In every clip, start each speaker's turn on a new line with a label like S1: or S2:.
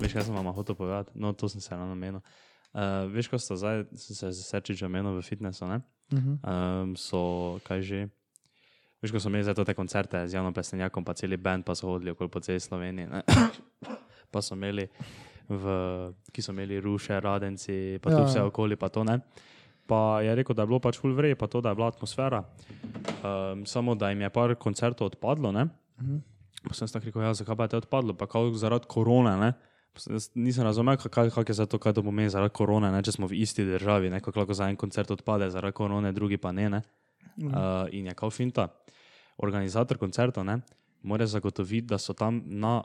S1: Veš, kaj sem vam hotel povedati? No, to sem se ravno namenil. Uh, veš, ko sta zdaj, sem se z Sečičem omenil v fitnesu, ne?
S2: Mhm.
S1: um, so, kaj že. Veš, ko so imeli zdaj to te koncerte z Janom Plesenjakom, pa celi band, pa so hodili okoli po celi Sloveniji. Ne? pa so imeli, v, ki so imeli ruše, radenci, pa tu
S2: Ja,
S1: vse
S2: ja.
S1: okoli, pa to ne. Pa je rekel, da je bilo pač full vrej, pa to, da je bila atmosfera. Um, samo da jim je par koncertov odpadlo, ne. Pa sem jaz tako rekel, ja, zakaj pa je to odpadlo, pa kao zaradi korone, ne. Pa sem jaz Nisem razumel, ka- kaj, kaj je za to, kaj to pomeni zaradi korone, ne, če smo v isti državi, ne, kako lahko za en koncert odpade, zaradi korone, drugi pa ne. ne.
S2: Mhm.
S1: Uh, in je kao finta. Organizator koncerta ne, mora zagotoviti, da so tam na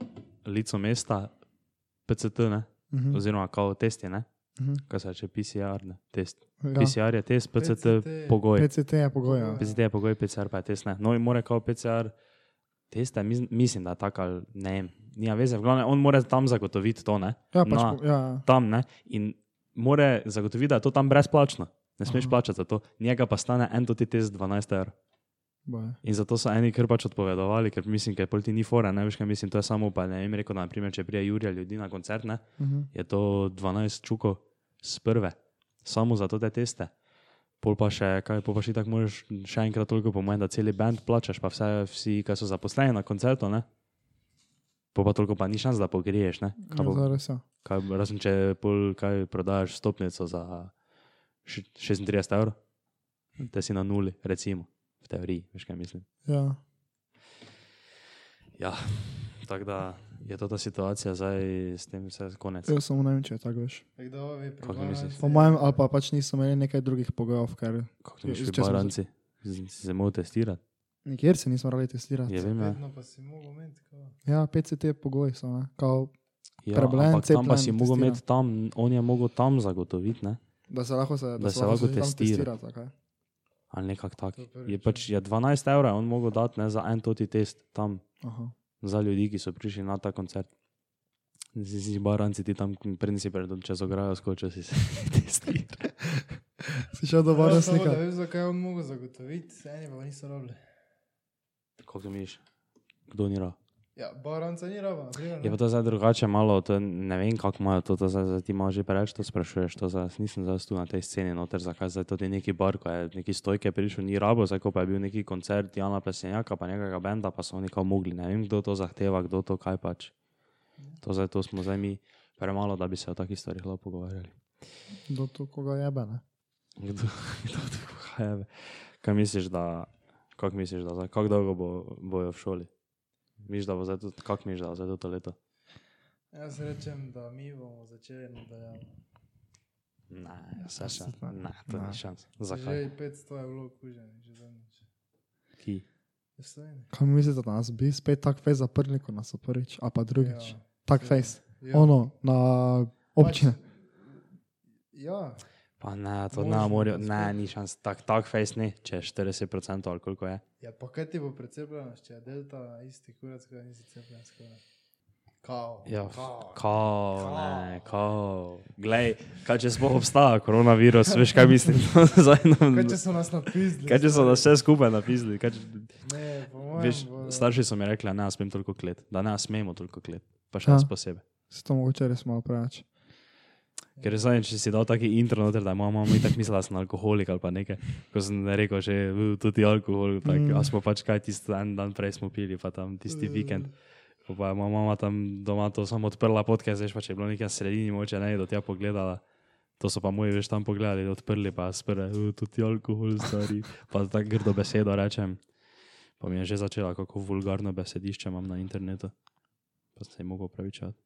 S1: licu mesta PCT, ne,
S2: Mhm.
S1: oziroma kao testi, ne,
S2: Mhm.
S1: kaj se reče PCR, ne, test.
S2: Ja.
S1: PCR je test, PCT,
S3: PCT.
S1: pogoj.
S2: PCT je ja. pogoja.
S1: PCT je pogoj, PCR pa je test. Ne. No in mora kao PCR teste, mis- mislim, da tako ali ne, vem, nima veze, v glavnem, on mora tam zagotoviti to, ne,
S2: Ja, pač,
S1: na-
S2: po- ja.
S1: tam ne, in mora zagotoviti, da je to tam brezplačno. Ne smeš
S2: Aha.
S1: plačati za to, njega pa stane en toti test 12 evrov.
S2: boje.
S1: In zato so eni kar pač odpovedovali, ker mislim, ker polti ni fora, ne veš, kaj mislim, to je samo pa ne vem, rekel, da naprimer, če prije Jurija ljudi na koncert, ne,
S2: Mhm.
S1: je to 12 čukov z prve, samo za to te teste. Pol pa še, kaj pol pa še tako moraš še enkrat toliko pomeni, da celi band plačaš, pa vse, vsi, ki so zaposleni na koncertu, ne. Pol pa toliko pa ni šans, da pogriješ, ne. Kaj bo,
S2: Ja, zares ja.
S1: kaj, razen če pol, kaj prodajaš stopnico za še- 36 evrov, te si na nuli, recimo, v teoriji, veš, kaj mislim.
S2: Ja.
S1: Ja, tako da je to ta situacija, zdaj s tem vse konec.
S2: Evo, samo ne vem, če je tako veš.
S3: Kdo ve,
S1: Kako
S3: pri
S1: misliš?
S3: Baranci?
S2: Po mojem, ali pa pač niso imeli nekaj drugih pogojev, ker
S1: Kako ti
S2: Ja,
S1: še
S2: če smo se-
S1: baranci? Si se moral testirati?
S2: nikjer se nismo morali testirati.
S1: Je vem, ja.
S3: Vedno pa si mogel imeti. kako.
S2: Ja, PCT je pogoj, so, ne? Kao,
S1: ja,
S2: Prebilen,
S1: ampak tam pa
S2: cepljen,
S1: si mogel
S2: testiran.
S1: imeti tam, on je mogel tam zagotoviti, ne?
S2: da se lahko, se, da
S1: Da
S2: se
S1: se
S2: lahko
S1: lahko
S2: se tam
S1: testira.
S2: testira. Testira,
S1: Ali nekako tako.
S3: To je prvič, ja.
S1: Je pač je 12 evrov, je on mogel dati ne, za en toti test tam za ljudi, ki so prišli na ta koncert. Si si baranci ti tam, preden si pred čez ograjo skočil, si se testiral.
S2: si šel do
S3: Ja,
S2: varne
S3: samo Da
S2: slike.
S3: veš, zakaj je on mogel zagotoviti, eni pa niso robili.
S1: Kako misliš? Kdo ni rad?
S3: Ja, baranca ni roba, naprimer.
S1: Je pa to zdaj drugače, malo to, ne vem, kako imajo to, to zdaj, zdaj ti malo že preveč to sprašuješ. To zdaj, jaz nisem zdaj tu na tej sceni, noter, zakaj zdaj to ti neki bar, ko je neki stojke prišel, ni rabo, zdaj ko pa je bil neki koncert Jana Plesenjaka, pa nekega benda, pa so oni kao mogli. Ne vem, kdo to zahteva, kdo to kaj pač. To zdaj, to smo zdaj mi premalo, da bi se o takih stvarih lahko pogovarjali.
S2: Do to, koga jebe, ne?
S1: Kdo, kdo to kaj je? Kaj misliš, da, kako misliš, da zdaj, kako dolgo bo, bojo v šoli? Miš, da bo zdaj, tudi- kako miš, da bo zdaj to leto?
S3: Jaz rečem, da mi bomo začeli nadaljevati. Ja,
S1: Ne, Saša,
S2: se pa-
S1: ne, to
S3: No.
S2: ne.
S1: ni šans. Zakaj?
S3: Že 500 je bilo okužen, že zadnjič.
S1: Ki?
S3: Je v Sloveniji.
S2: Kaj mislite, da nas bi spet tak fejs zaprli, ko nas so prvič, a pa drugič?
S3: Ja.
S2: Tak
S3: Ja.
S2: fejs.
S3: Ja.
S2: Ono, na občine.
S3: Pač, ja,
S1: Pa ne, to ne
S3: Možno,
S1: morajo,
S3: da
S1: ne,
S3: spet.
S1: ni šans, tak, tak fejs ni, če je 40% ali koliko je.
S3: ja, pa kaj ti bo precepljenost, če je delta isti kurac, kot nisi cepljen skoraj. Kao.
S1: Ja,
S3: kao.
S1: kao, ne, kao. Glej, kaj če sploh obstaja koronavirus, veš kaj mislim, no, zdaj
S3: Kaj
S1: nam.
S3: če so nas napisali?
S1: Kaj če so nas vse skupaj napisali? Kaj, če,
S3: Ne, po mojem.
S1: veš,
S3: bodo-
S1: starši so mi rekli, da ne smem toliko klet, da ne smemo toliko klet, pa še nas
S2: Ja.
S1: posebej.
S2: Se to mogoče res malo preveč.
S1: Ker zdaj, če si dal taki intro, noter, da je moja mama itak mislila, da sem alkoholik ali pa nekaj. Ko sem rekel, že "U, tudi alkohol, tako,
S2: Mm.
S1: a smo pač kaj tisti en dan prej smo pili, pa tam tisti vikend. Pol Pa je moja mama tam doma to samo odprla podke, zdaj pa če je bilo nekaj sredini, moče ne, do tja pogledala. To so pa moji več tam pogledali, odprli pa sprve, "U, tudi alkohol, stari. Pa tako grdo besedo rečem. Pa mi je že začela, kako vulgarno besedišče imam na internetu. Pa sem se jim mogel opravičati.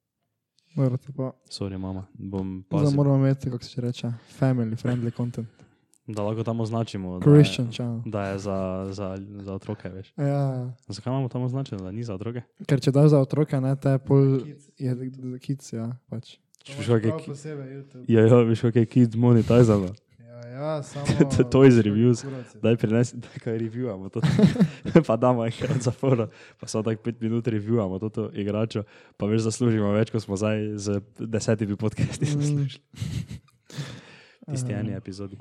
S2: Dobro, to pa.
S1: Sorry, mama, bom
S2: Zdaj
S1: pazil.
S2: moramo imeti, kako se še reče, family friendly content.
S1: Da lahko tam označimo, da je,
S2: Christian channel.
S1: da je za, za, za otroke. Veš.
S2: Ja, Ja,
S1: Zakaj imamo tam označeno, da ni za otroke?
S2: ker če daš za otroke, ne te pol
S3: Kids.
S2: je kids, ja, pač.
S3: To
S1: Če
S3: imaš
S1: veš, kako je
S3: prav
S1: ki-
S3: posebej YouTube.
S1: Ja, ja, veš, kako je kid monetizano.
S3: Ja. Ja, ja samo...
S1: To je iz reviews.
S3: Kurac je.
S1: Daj prinesi, da kaj reviewamo, to, pa damo enkrat za prvo, pa samo tako pet minut reviewamo to, to igračo, pa veš, zaslužimo več, kot smo zdaj z desetimi
S3: Mm.
S1: podcasti zaslužili. Tisti
S2: Ehm,
S1: eni epizodi.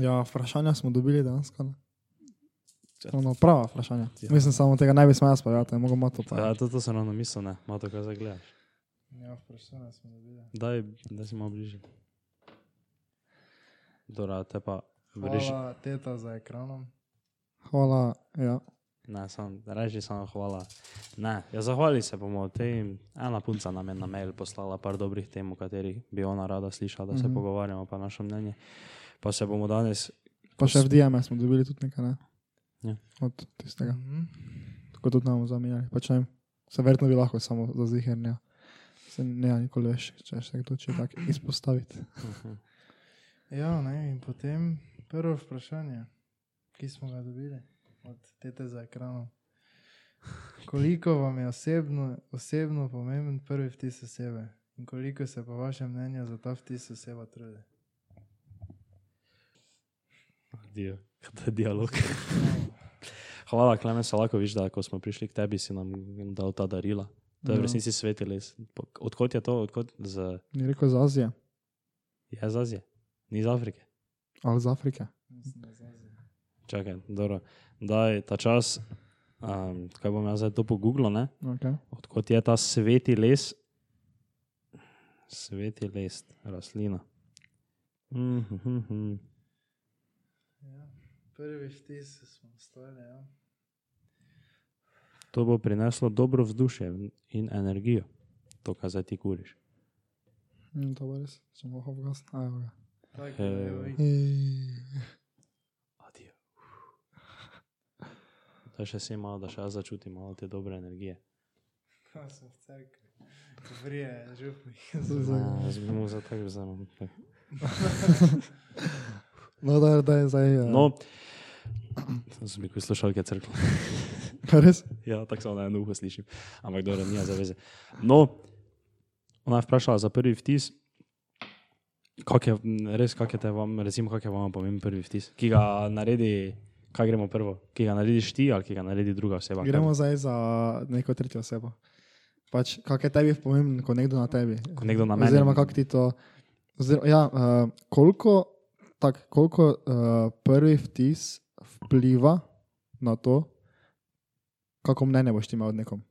S2: Ja, vprašanja smo dobili dejansko. ne.
S1: Ja.
S2: No, no, prava vprašanja.
S1: Ja.
S2: Mislim, samo tega naj bi smel jaz povedati, ne mogo mato
S1: Ja,
S2: pa.
S1: to, to sem ravno mislil, ne, malo to kaj zagledaš.
S3: Ja, vprašanje smo dobili.
S1: Daj, da si malo bližje. Dora, te pa reži.
S3: Hvala, teta za ekranom.
S2: Hvala, ja.
S1: Ne, sam, reži samo hvala. Ne, ja, zahvali se bomo tem. Ena punca nam je na mail poslala par dobrih tem, o katerih bi ona rada slišala, da se mm
S2: Mhm.
S1: -hmm. pogovarjamo, pa naše mnenje. Pa se bomo danes,
S2: Pa še v DM smo dobili tudi nekaj, ne?
S1: Ja.
S2: Od tistega.
S3: Mhm.
S2: Tako tudi nam zamenjali. Pač ne vem, se verjetno bi lahko samo za zihernja. Se ne, nikoli veš, če še kdo če tako izpostaviti.
S3: Ja, ne, in potem prvo vprašanje, ki smo ga dobili od tete za ekranom. Koliko vam je osebno, osebno pomemben prvi vtis osebe in koliko se po vašem mnenju za ta vtis oseba trudi?
S1: Dio, da je dialog. Hvala, Klemen Salakovič, da ko smo prišli k tebi, si nam dal ta darila. To je v
S2: Ja.
S1: resnici svetili. Odkot je to, odkot z,
S2: Ni rekel iz Azije
S1: je z Azije, ni iz Afrike.
S2: ali iz Afrike.
S3: Mislim, da zazi.
S1: Čakaj, dobro. Daj, ta čas, um, kaj bom jaz zdaj to pogooglil, ne?
S2: Okay.
S1: odkot je ta sveti les, sveti les, rastlina. Mhm, mhm.
S3: Ja. Prvi vtis smo stali, ja.
S1: To bo prineslo dobro vzdušje in energijo, to, kar zdaj ti kuriš.
S2: Mm, to bo res, če bomo hovorili. Ajmo ga.
S3: Tako je,
S1: Evo.
S3: oj.
S1: Adijo. Da še si malo, da še jaz začutim malo te dobre energije.
S3: Ko sem v cerkvi. Vrije, župnik.
S1: Ja, Jaz bi mu za tako vzel.
S2: No, da, da je zdaj. eh,
S1: No, to sem rekel, slušalke crkve.
S2: Res?
S1: Ja, tako samo na eno uho slišim, ampak dobro, ni zaveze. No, ona je vprašala za prvi vtis. Kak je, m, res, kak je te vam, recimo, kak je vam pomemben prvi vtis, ki ga naredi, kaj gremo prvo, ki ga narediš ti ali ki ga naredi druga oseba. Kaj-
S2: Gremo zdaj za neko tretjo osebo. Pač, kaj je tebi pomembno, ko nekdo na tebi?
S1: Ko nekdo na mene.
S2: Oziroma, kako ti to. Oziroma, ja, uh, koliko tak, koliko uh, prvi vtis vpliva na to, kako mnenje boš ti imel od nekom?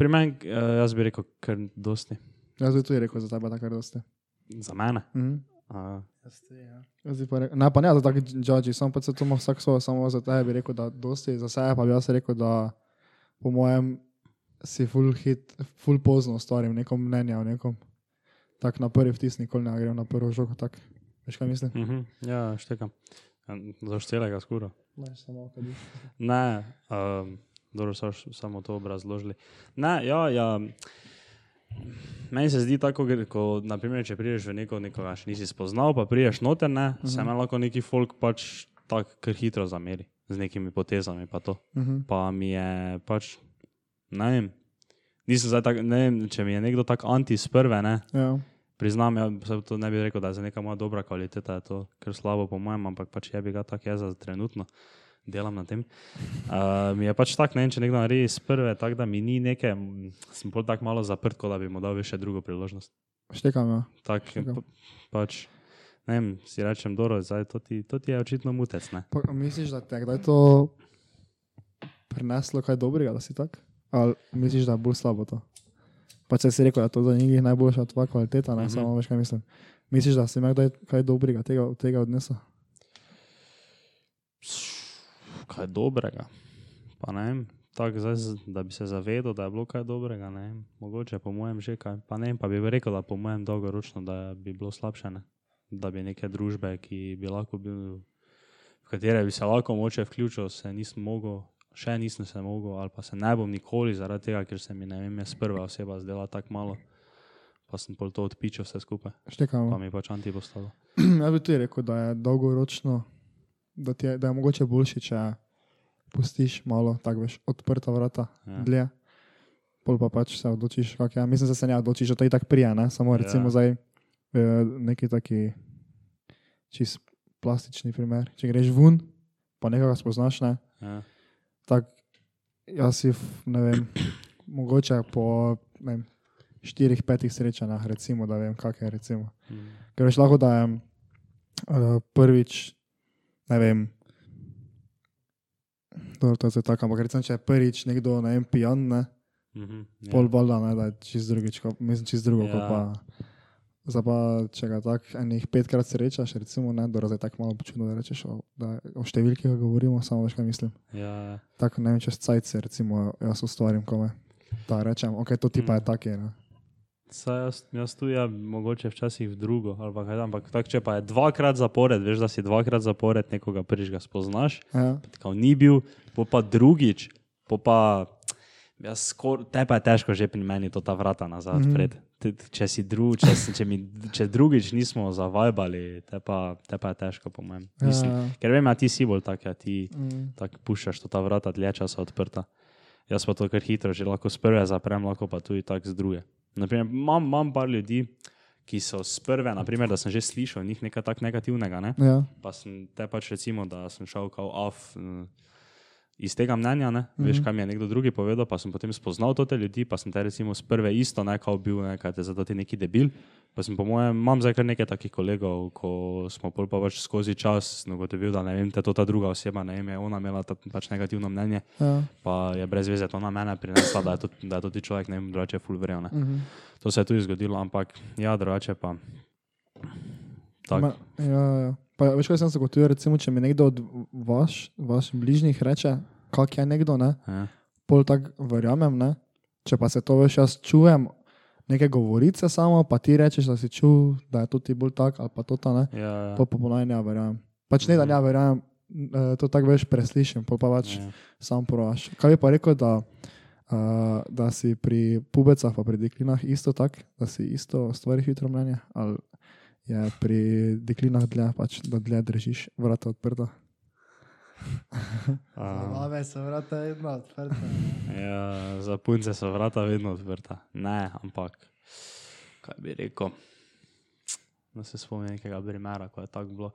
S1: Pri meni, eh, jaz bi rekel, kar dosti.
S2: Jaz bi tudi rekel za tebe, da kar doste.
S1: Za mene.
S2: ja. Mhm.
S1: A,
S3: Jaz te, ja.
S2: Jaz bi pa rekel, ne, pa ne, za take judži, samo pač se to ima vsak svoje, samo za tebe bi rekel, da dosti, za sebe pa bi jaz rekel, da po mojem si full hit, full pozno ustvarim neko mnenje o nekom. Tako na prvi vtis nikoli ne grem na prvo žogo, tako. Veš kaj mislim?
S1: uh -huh, ja, štekam. En- Zaštelega skoro.
S2: Ne, samo kaj bi.
S1: Ne, um, dobro, so š- samo to obrazložili. Ne, ja, ja. Meni se zdi tako, gre- ko, naprimer, če priješ v neko, nekoga še nisi spoznal, pa priješ noter, ne, uh -huh. se me lahko neki folk pač tako kar hitro zameri z nekimi potezami. Pa, to.
S2: Uh -huh.
S1: pa mi je pač, ne vem, nisem zdaj tak, ne vem, če mi je nekdo tako anti s prve, ne,
S2: Ja,
S1: Priznam, ja, saj to ne bi rekel, da je za neka moja dobra kvaliteta, je to kar slabo, po mojem, ampak pač je bi ga tako jaz za trenutno delam na tem. Uh, mi je pač tako, ne vem, če nekdo naredi iz prve, tako da mi ni neke, mm, sem bolj tako malo zaprt, kot da bi mu dal še drugo priložnost.
S2: štekam, ja.
S1: Tak,
S2: Tako.
S1: pa, pač, ne vem, si rečem, dobro, zdaj to ti, to ti je očitno mutec, ne?
S2: Pa, a misliš, da te je kdaj to prineslo kaj dobrega, da si tak? Ali misliš, da je bolj slabo to? Pač saj si rekel, da je to za njih najboljša tvoja kvaliteta, ne
S1: Mhm.
S2: mm -hmm. samo veš kaj mislim. Misliš, da si imel kdaj kaj dobrega tega, od tega odnesel?
S1: Kaj dobrega. Pa ne vem, tako zdaj, z- da bi se zavedal, da je bilo kaj dobrega, ne vem, mogoče po mojem že kaj. Pa ne vem, pa bi rekel, da po mojem dolgoročno, da bi bilo slabše, ne? da bi neke družbe, ki bi lahko bil, v katere bi se lahko moče vključil, se nisem mogel. Še nisem se mogel, ali pa se ne bom nikoli, zaradi tega, ker se mi ne vem, jaz prva oseba zdela tako malo, pa sem pol to odpičil vse skupaj, pa
S2: Štekam.
S1: mi je pač anti postalo.
S2: Jaz bi tudi rekel, da je dolgoročno, da, ti je, da je mogoče boljše, če pustiš malo, tako veš, odprta vrata,
S1: Ja.
S2: ja. dlje. ja, Pol pa pač se odločiš, kako je. Mislim, da se ne odločiš, da to je tako prije, ne? samo
S1: Ja.
S2: recimo ja. zdaj eh, neki taki čist plastični primer. Če greš ven, pa nekoga spoznaš, ne,
S1: Ja.
S2: tako jaz si, f- ne vem, mogoče po ne vem, štirih, petih srečanjih, recimo, da vem, kak je. Recimo.
S1: Mm.
S2: Ker veš lahko, da je uh, prvič, ne vem, dobro, to je zdaj tako, ampak recimo, če je prvič nekdo, ne vem, pijan, ne,
S1: Mhm,
S2: ja.
S1: ja.
S2: pol balda, ne, da je čist drugič, ko, mislim, čist drugo, ja.
S1: Ja.
S2: kot pa. Zdaj pa, če ga tako enih petkrat srečaš, recimo, ne, dobro, zdaj je tako malo počutno, da rečeš, o, da o številkih govorimo, samo veš, kaj mislim.
S1: Ja, ja.
S2: Tako ne vem, če sajce, recimo, jaz ustvarim kome. Da rečem, ok, to ti pa
S1: Mm.
S2: je tako.
S1: Saj jaz, jaz tu ja, mogoče včasih v drugo, ali pa kaj, tam, ampak tak, če pa je dvakrat zapored, veš, da si dvakrat zapored nekoga prižga spoznaš,
S2: Ja,
S1: kot ni bil, po pa drugič, po pa jaz skor, te pa je težko že pri meni to ta vrata nazaj odpreti. Mm -hmm. Če si drug, če, si- če, mi, če drugič nismo zavajbali, te pa, te pa je težko, po mojem.
S2: Ja,
S1: Mislim,
S2: ja.
S1: Ker vem, a ti si bolj tak, ja, ti
S2: Mm.
S1: tako pušaš to ta vrata dlje časa odprta. Jaz pa to kar hitro, že lahko s prve zaprem, lahko pa tudi tako z druge. Naprimer, imam, imam par ljudi, ki so s prve, naprimer, da sem že slišal o njih nekaj tako negativnega, ne?
S2: ja.
S1: pa sem te pač recimo, da sem šel kao off. mm, Iz tega mnenja, ne,
S2: Mhm.
S1: veš, kaj mi je nekdo drugi povedal, pa sem potem spoznal to te ljudi, pa sem te recimo s prve isto nekaj bil, nekaj te zato ti neki debil. Pa sem po mojem, imam zdaj kar nekaj takih kolegov, ko smo pol pa pač skozi čas sem ugotovil, da ne vem, te to ta druga oseba, ne vem, je ona imela ta, pač negativno mnenje,
S2: ja.
S1: pa je brez veze to na mene prinesla, da je to, da je to ti človek, ne vem, drugače je full verjel. ne.
S2: mhm.
S1: To se je tudi zgodilo, ampak ja, drugače pa.
S2: Ma,
S1: Tako.
S2: ja, ja. Pa, veš, kaj sem se gotovil, recimo, če mi nekdo od vaš, vaših bližnjih reče, kak je nekdo, ne?
S1: Ja.
S2: pol tak verjamem, ne? če pa se to veš, jaz čujem neke govorice samo, pa ti rečeš, da si čutil, da je to ti bolj tak ali pa to ta ne,
S1: Ja, ja.
S2: pa pač- popolnoma ne verjamem. Pač ne, da ne verjamem, n- eh, to tako veš, preslišim, pol pa pač
S1: Ja.
S2: sam provaš. Kaj bi pa rekel, da, uh, da si pri pubecah, pa pri deklinah isto tak, da si isto stvari hitro mnenje, ali je pri deklinah dlje, pač, da dlje držiš vrata odprta.
S1: A,
S3: Lave so vrata vedno odprta.
S1: Ja, za punce so vrata vedno odprta. Ne, ampak kaj bi rekel. Da se spomnim nekega primera, ko je tako bilo.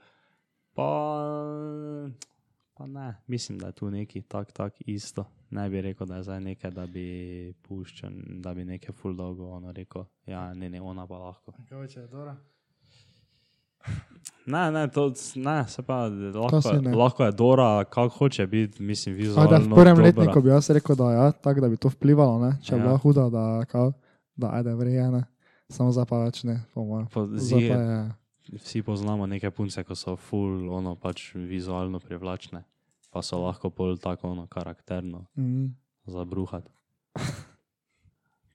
S1: Pa, pa ne, mislim, da je tu neki tak, tak isto. Ne bi rekel, da je zdaj nekaj, da bi puščal, da bi nekaj full dolgo ono rekel. Ja, ne, ne, ona pa lahko.
S3: Kako če je dobro?
S1: Ne, ne, to, c- ne se pa
S2: To
S1: lahko,
S2: si ne.
S1: je- lahko je Dora, kako hoče biti, mislim,
S2: A,
S1: vizualno.
S2: da v prvem
S1: dobra.
S2: letniku bi jaz rekel, da, ja, tak, da bi to vplivalo, ne? če bi
S1: Ja.
S2: bila huda, da, kao, da ajde vrejene, samo za pa več ne, po mojem.
S1: Pa
S2: Zdaj pa
S1: ziher.
S2: je,
S1: vsi poznamo neke punce, ki so full, ono pač vizualno privlačne, pa so lahko bolj tako ono karakterno
S2: mm,
S1: zabruhati.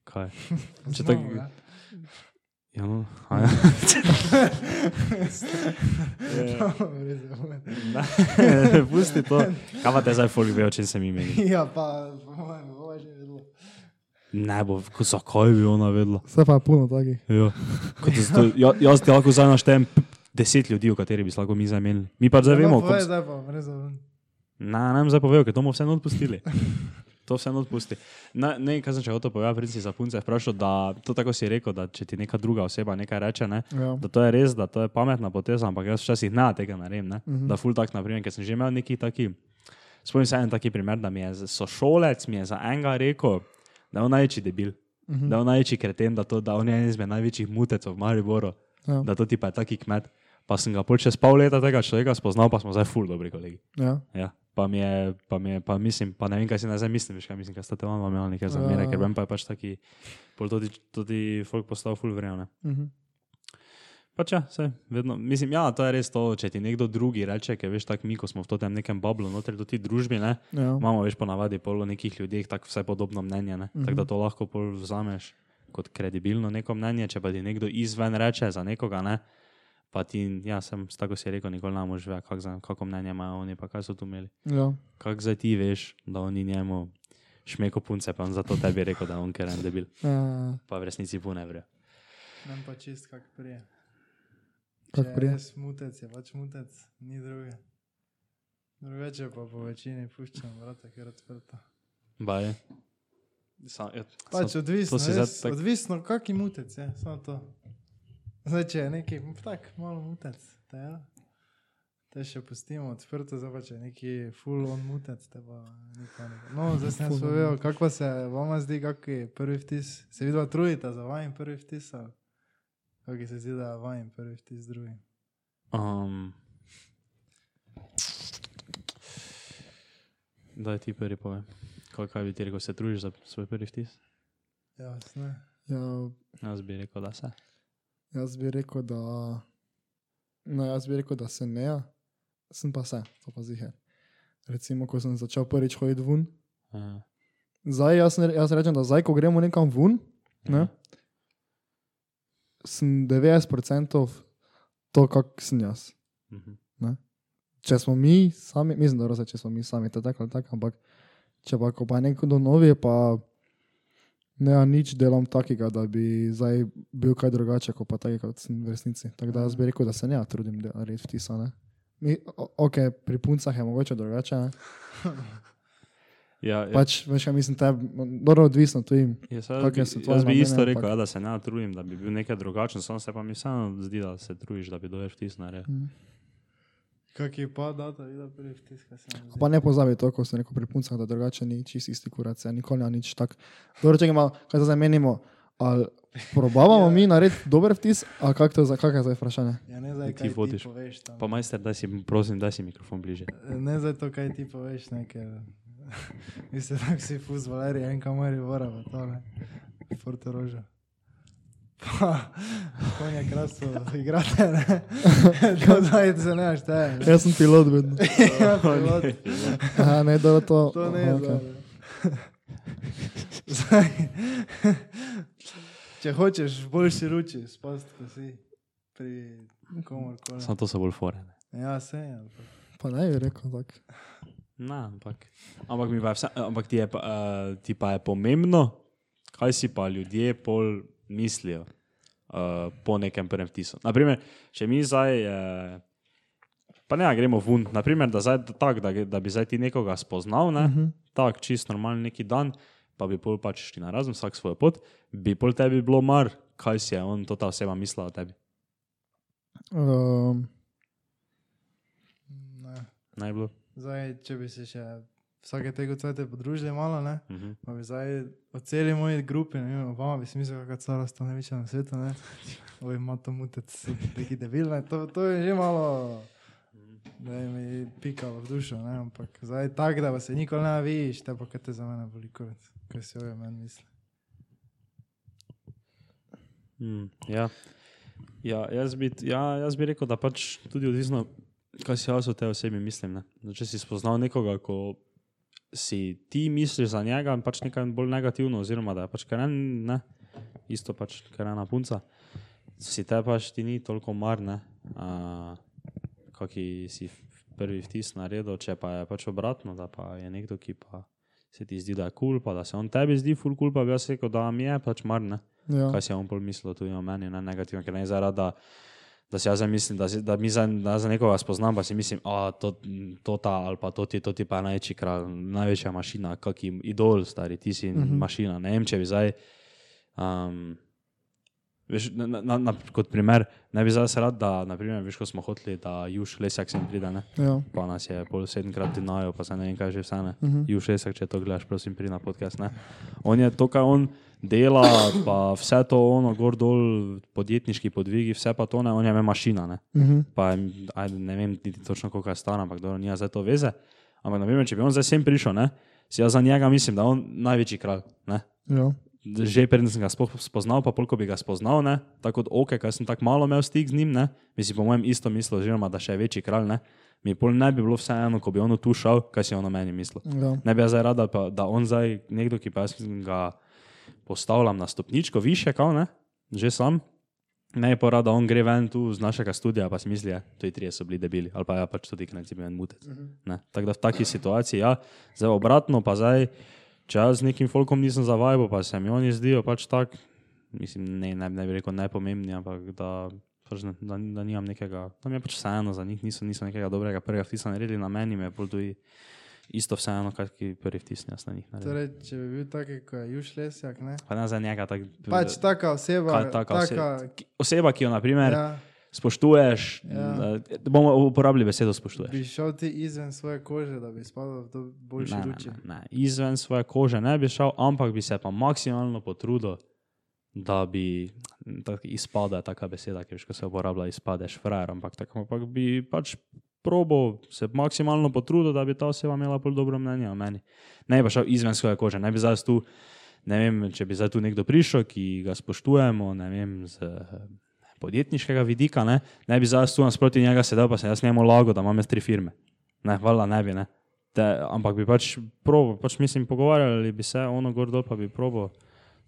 S1: Kaj? Če
S3: Znamo,
S1: tako-
S3: ja.
S1: Ja, no, a ja.
S3: Res je, moment.
S1: Ne, Pusti to. Kaj pa te zdaj full ve, o čem sem imel?
S3: Ja, pa po mojem, bo že vedelo.
S1: Ne bo, ko- zakaj bi ona vedela?
S2: vse pa je puno takih.
S1: Ja. Ko te sto- ja- Jaz ti lahko zdaj naštejem p- deset ljudi, o katerih bi se lahko mi zamenili. Mi pa zdaj vemo,
S3: kako
S1: kako
S3: je. Zdaj pa, res je. moment.
S1: Na, nam zdaj povejo, ker to bomo vseeno odpustili. To vseeno odpusti. Na, ne, kaj sem če hotel povedati, princi za punce, vprašal, da to tako si rekel, da če ti neka druga oseba nekaj reče, ne,
S2: Ja.
S1: da to je res, da to je pametna poteza, ampak jaz včasih na tega naredim, ne, mm -hmm. da full tak, naprimer, ker sem že imel neki taki, spomnim se en taki primer, da mi je z- sošolec, mi je za enega rekel, da je on največji debil, mm -hmm. da je on največji kreten, da, to, da on je en izmed največjih mutecev v Mariboru,
S2: Ja.
S1: ja. da to ti pa je taki kmet. Pa sem ga pol čez pol leta tega človeka spoznal, pa smo zdaj full dobri kolegi.
S2: Ja.
S1: Ja. Pa mi je, pa mi je, pa mislim, pa ne vem, kaj si nazaj mislim, veš, kaj mislim, kaj sta te mama imela nekaj zamere,
S2: Ja.
S1: ja. ker vem pa je pač taki, pol tudi, tudi folk postal full vrejone.
S2: Mhm.
S1: Pač ja, vse, vedno, mislim, ja, to je res to, če ti nekdo drugi reče, ker veš, tako mi, ko smo v tem nekem bablu, noter do ti družbi, ne,
S2: Ja.
S1: imamo več ponavadi polo nekih ljudi, tako vse podobno mnenje, ne, tako da to lahko pol vzameš kot kredibilno neko mnenje, če pa ti nekdo izven reče za nekoga, ne, pa ti, ja, sem, s tako si rekel, nikoli ne moreš vedeti, kak za- kako mnenje imajo oni, pa kaj so tu imeli
S2: Ja.
S1: kako zdaj ti veš, da oni njemu šmeko punce, pa on zato tebi rekel, da je on keren debil,
S2: Ja.
S1: pa v resnici pune vre.
S3: Nam pa čist kak prije.
S2: Kako
S3: Če
S2: prije?
S3: Je res mutec, je pač mutec, ni druge. Drugače pa po večini puščam vrata, ker odprta.
S1: Baje. Sam, ja,
S3: Pač
S1: sam,
S3: odvisno,
S1: si
S3: res,
S1: zdaj tak-
S3: odvisno kak je mutec, je, samo ja, to. Zdaj, če je neki tak, malo mutec, te, ja. te še pustimo odprto, zdaj pa če je neki full on mutec, te pa nikoli ne. bo. No, zdaj sem
S2: Full on
S3: spovedal, kako se vama zdi, kak je prvi vtis, se vidva trujita za vajen prvi vtis, ali kako se zdi, da je vajen prvi vtis drugi.
S1: Um, Daj ti prvi povem. Kaj, kaj bi ti rekel, se trudiš za svoj prvi vtis?
S3: Jasno.
S2: Ja,
S1: Jaz bi rekel, da se.
S2: jaz bi rekel, da, no, jaz bi rekel, da se ne, ja. sem pa se, to pa zihe. Recimo, ko sem začel prvič hoditi ven,
S1: Uh,
S2: zdaj jaz, ne, jaz rečem, da zdaj, ko gremo nekam ven, ne, sem 90% to, kak sem jaz.
S1: Mhm.
S2: če smo mi sami, mislim, da roza, če smo mi sami, to je tako ali tako, ampak če pa ko pa je nekdo novi, pa ne, ja, nič delam takega, da bi zdaj bil kaj drugače, kot pa tako, kot sem v resnici. Tako da jaz bi rekel, da se ne ja trudim dela- narediti vtisa. Ne. Mi, o, ok, pri puncah je mogoče drugače. Ne.
S1: Ja, ja,
S2: Pač, veš, kaj mislim, te, dobro, odvisno tu jim.
S1: jaz, jaz,
S2: kak je
S1: bi,
S2: se tvoje
S1: jaz bi
S2: mnenje,
S1: isto rekel,
S2: ampak-
S1: ja, da se ne trudim, da bi bil nekaj drugačen, samo se pa mi vseeno zdi, da se trudiš, da bi dojež vtis naredil.
S2: Mhm.
S3: Kak je pa data, videl prvi vtis, kaj sem
S2: Pa ne pozabi to, ko sem rekel pri puncah, da drugače ni čisti isti kurac, ja, nikoli ni nič tak. Dobro, če imamo, kaj zdaj menimo, ali probavamo mi narediti dober vtis, ali kako to, za- kako je zdaj vprašanje?
S3: Ja, ne zdaj,
S1: Ti
S3: kaj ti
S1: vodiš.
S3: poveš tam.
S1: Pa majster, daj si, prosim, daj si mikrofon bliže.
S3: Ne zdaj to, kaj ti poveš, ne, ker vi ste tako si fuz, Valerij, en kamar je vora, pa to ne, Forte Roža. Pa, konja krasto, igrate, ne, to zdaj se ne šteje. ne.
S2: Jaz sem pilot vedno.
S3: Ja, pilot,
S2: Aha, ne, dobro, to,
S3: to ne
S2: aha,
S3: je
S2: okej.
S3: zdaj. ne. Zdaj, Če hočeš, boljši ruči, spast, ko si pri komorkoli.
S1: Samo to so bolj fore. Ne?
S3: Ja, se je. ampak-
S2: Pa ne bi rekel tako.
S1: Na, ampak, ampak, mi pa je vse, ampak ti, je, pa, uh, ti pa je pomembno, kaj si pa ljudje pol mislijo uh, po nekem prvem vtisu. Naprimer, če mi zdaj, uh, pa ne, a gremo ven, naprimer, da, zdaj, tak, da, ge- da bi zdaj ti nekoga spoznal,
S2: Mhm.
S1: ne, uh -huh. tak čist normalen neki dan, pa bi pol pač šli na razen, vsak svojo pot, bi pol tebi bilo mar, kaj si je on, to ta oseba mislila o tebi.
S2: Um,
S3: Ne.
S1: Naj bilo.
S3: Zdaj, če bi se še vsake tega cvete podružili malo, ne?
S1: Uh -huh.
S3: Pa bi zdaj o celi moji grupi, ne vem, vama bi si mislil, kakšna cara sta največja na svetu, ne? Oj, ima to mutec, neki debil, ne? To, to je že malo, da je mi pikalo v dušo, ne? Ampak zdaj tak, da pa se nikoli ne vidiš, te pa kaj te za mene boli kurac, kaj si ove meni misli.
S1: Mm, ja. Ja, jaz bi, t- ja, jaz bi rekel, da pač tudi odvisno, kaj si jaz o tej osebi mislim. ne. Zdaj, Če si spoznal nekoga, ko si ti misliš za njega, je pač nekaj bolj negativno, oziroma da je pač kar en, ne, isto pač kar ena punca, si te pač ti ni toliko mar, ne, a, kaki si f- prvi vtis naredil, če pa je pač obratno, da pa je nekdo, ki pa se ti zdi, da je kul, cool, pa da se on tebi zdi ful kul, cool, pa bi jaz rekel, da mi je pač mar, ne
S2: ja.
S1: kaj si je on pol mislil, tudi o meni, ne negativno, ker ne zaradi, da, da si jaz zdaj mislim, da, si, da mi za, da za nekoga spoznam, pa si mislim, a to, to ta ali pa to ti, to ti pa je največji kralj, največja mašina, kaki idol, stari, ti si uh -huh. mašina, ne vem, če bi zdaj. Um, Veš, na, na- na, na, kot primer, ne bi zdaj se rad, da naprimer, veš, ko smo hoteli, da juž lesjak sem pride, ne?
S2: ja.
S1: pa nas je pol sedemkrat dinajo, pa se ne vem, kaj že vse ne. Uh
S2: Mhm.
S1: -huh. Jušesak, če to gledaš, prosim, pri na podcast. Ne? On je to, kar on dela, pa vse to ono, gor dol, podjetniški podvigi, vse pa to ne, on je me mašina. Ne?
S2: Mhm.
S1: Pa je, ajde, ne vem niti točno, koliko je star, ampak dobro, nima zdaj to veze. Ampak na primer, če bi on zdaj sem prišel, ne? si jaz za njega mislim, da je on največji kralj. Ne?
S2: ja.
S1: že preden sem ga sploh spoznal, pa koliko bi ga spoznal, ne? tako kot oke, ker sem tako malo imel stik z njim, ne? bi si po mojem isto mislil, oziroma da še je večji kralj, ne? mi pol ne bi bilo vseeno, ko bi on tu šel, kaj si on o meni mislil.
S2: ja.
S1: Ne bi jaz zdaj rada, pa, da on zdaj nekdo, ki pa jaz ga postavljam na stopničko više, kao, ne? že sam. Ne je pa rada, on gre ven tu z našega studia, pa si misli, da ti trije so bili debeli, ali pa ja, pač tudi knajci bi en mutec. Ne, Tako da v taki situaciji, ja, zdaj obratno, pa zdaj, če jaz z nekim folkom nisem zavajal, pa se mi oni zdijo pač tak, mislim, ne, ne, ne bi rekel najpomembnejši, ampak da, pač ne, da, da nimam nekega, da mi je pač vseeno za njih, niso, niso nekega dobrega prvega vtisa naredili na meni, me je bolj tudi isto vseeno, kaj ki prvi vtisne, jaz na njih naredim.
S3: Torej, če bi bil tak, kot je Juž Lesjak, ne?
S1: Pa ne za njega tak.
S3: Pač taka oseba,
S1: Ka- taka oseba. ki- Oseba, ki jo naprimer, ja.
S3: ja,
S1: spoštuješ,
S3: Ja.
S1: ja. bomo uporabili besedo spoštuješ.
S3: bi šel ti izven svoje kože, da bi spadal v to boljše
S1: ne,
S3: luči.
S1: ne, ne. Izven svoje kože ne bi šel, ampak bi se pa maksimalno potrudil, da bi tak, izpada taka beseda, ki veš, ko se uporablja, izpadeš frajer, ampak tako ampak bi pač probo se maksimalno potrudil, da bi ta oseba imela bolj dobro mnenje o meni. Ne bi pa šel izven svoje kože, ne bi zdaj jaz tu, ne vem, če bi zdaj tu nekdo prišel, ki ga spoštujemo, ne vem, z eh, podjetniškega vidika, ne, ne bi zdaj jaz tu nasproti njega sedel, pa sem jaz njemu lago, da imam jaz tri firme. Ne, valjda ne bi, ne. Te, ampak bi pač probo, pač mislim, pogovarjali bi se ono gor dol, pa bi probo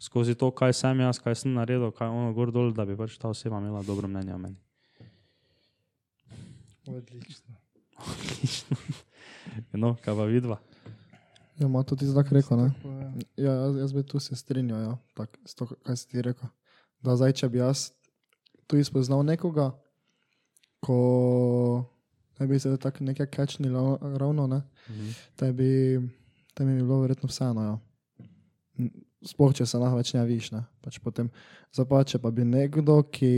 S1: skozi to, kaj sem jaz, kaj sem naredil, kaj ono gor dol, da bi pač ta oseba imela dobro mnenje o meni.
S3: Odlično.
S1: No, kaj pa vidva.
S2: Ja, ima to ti zdaj rekel, ne?
S3: Tako, ja.
S2: Ja, jaz, jaz bi tu se strinjal, ja, tak, s to, kaj si ti rekel. Da zdaj, če bi jaz tu izpoznal nekoga, ko ne bi se tako nekaj kečni ravno, ne, te bi, te bi mi bilo verjetno vseeno. Ja. N- Sploh, če se lahko več ne viš, ne. Pač potem, zdaj pa, če pa bi nekdo, ki,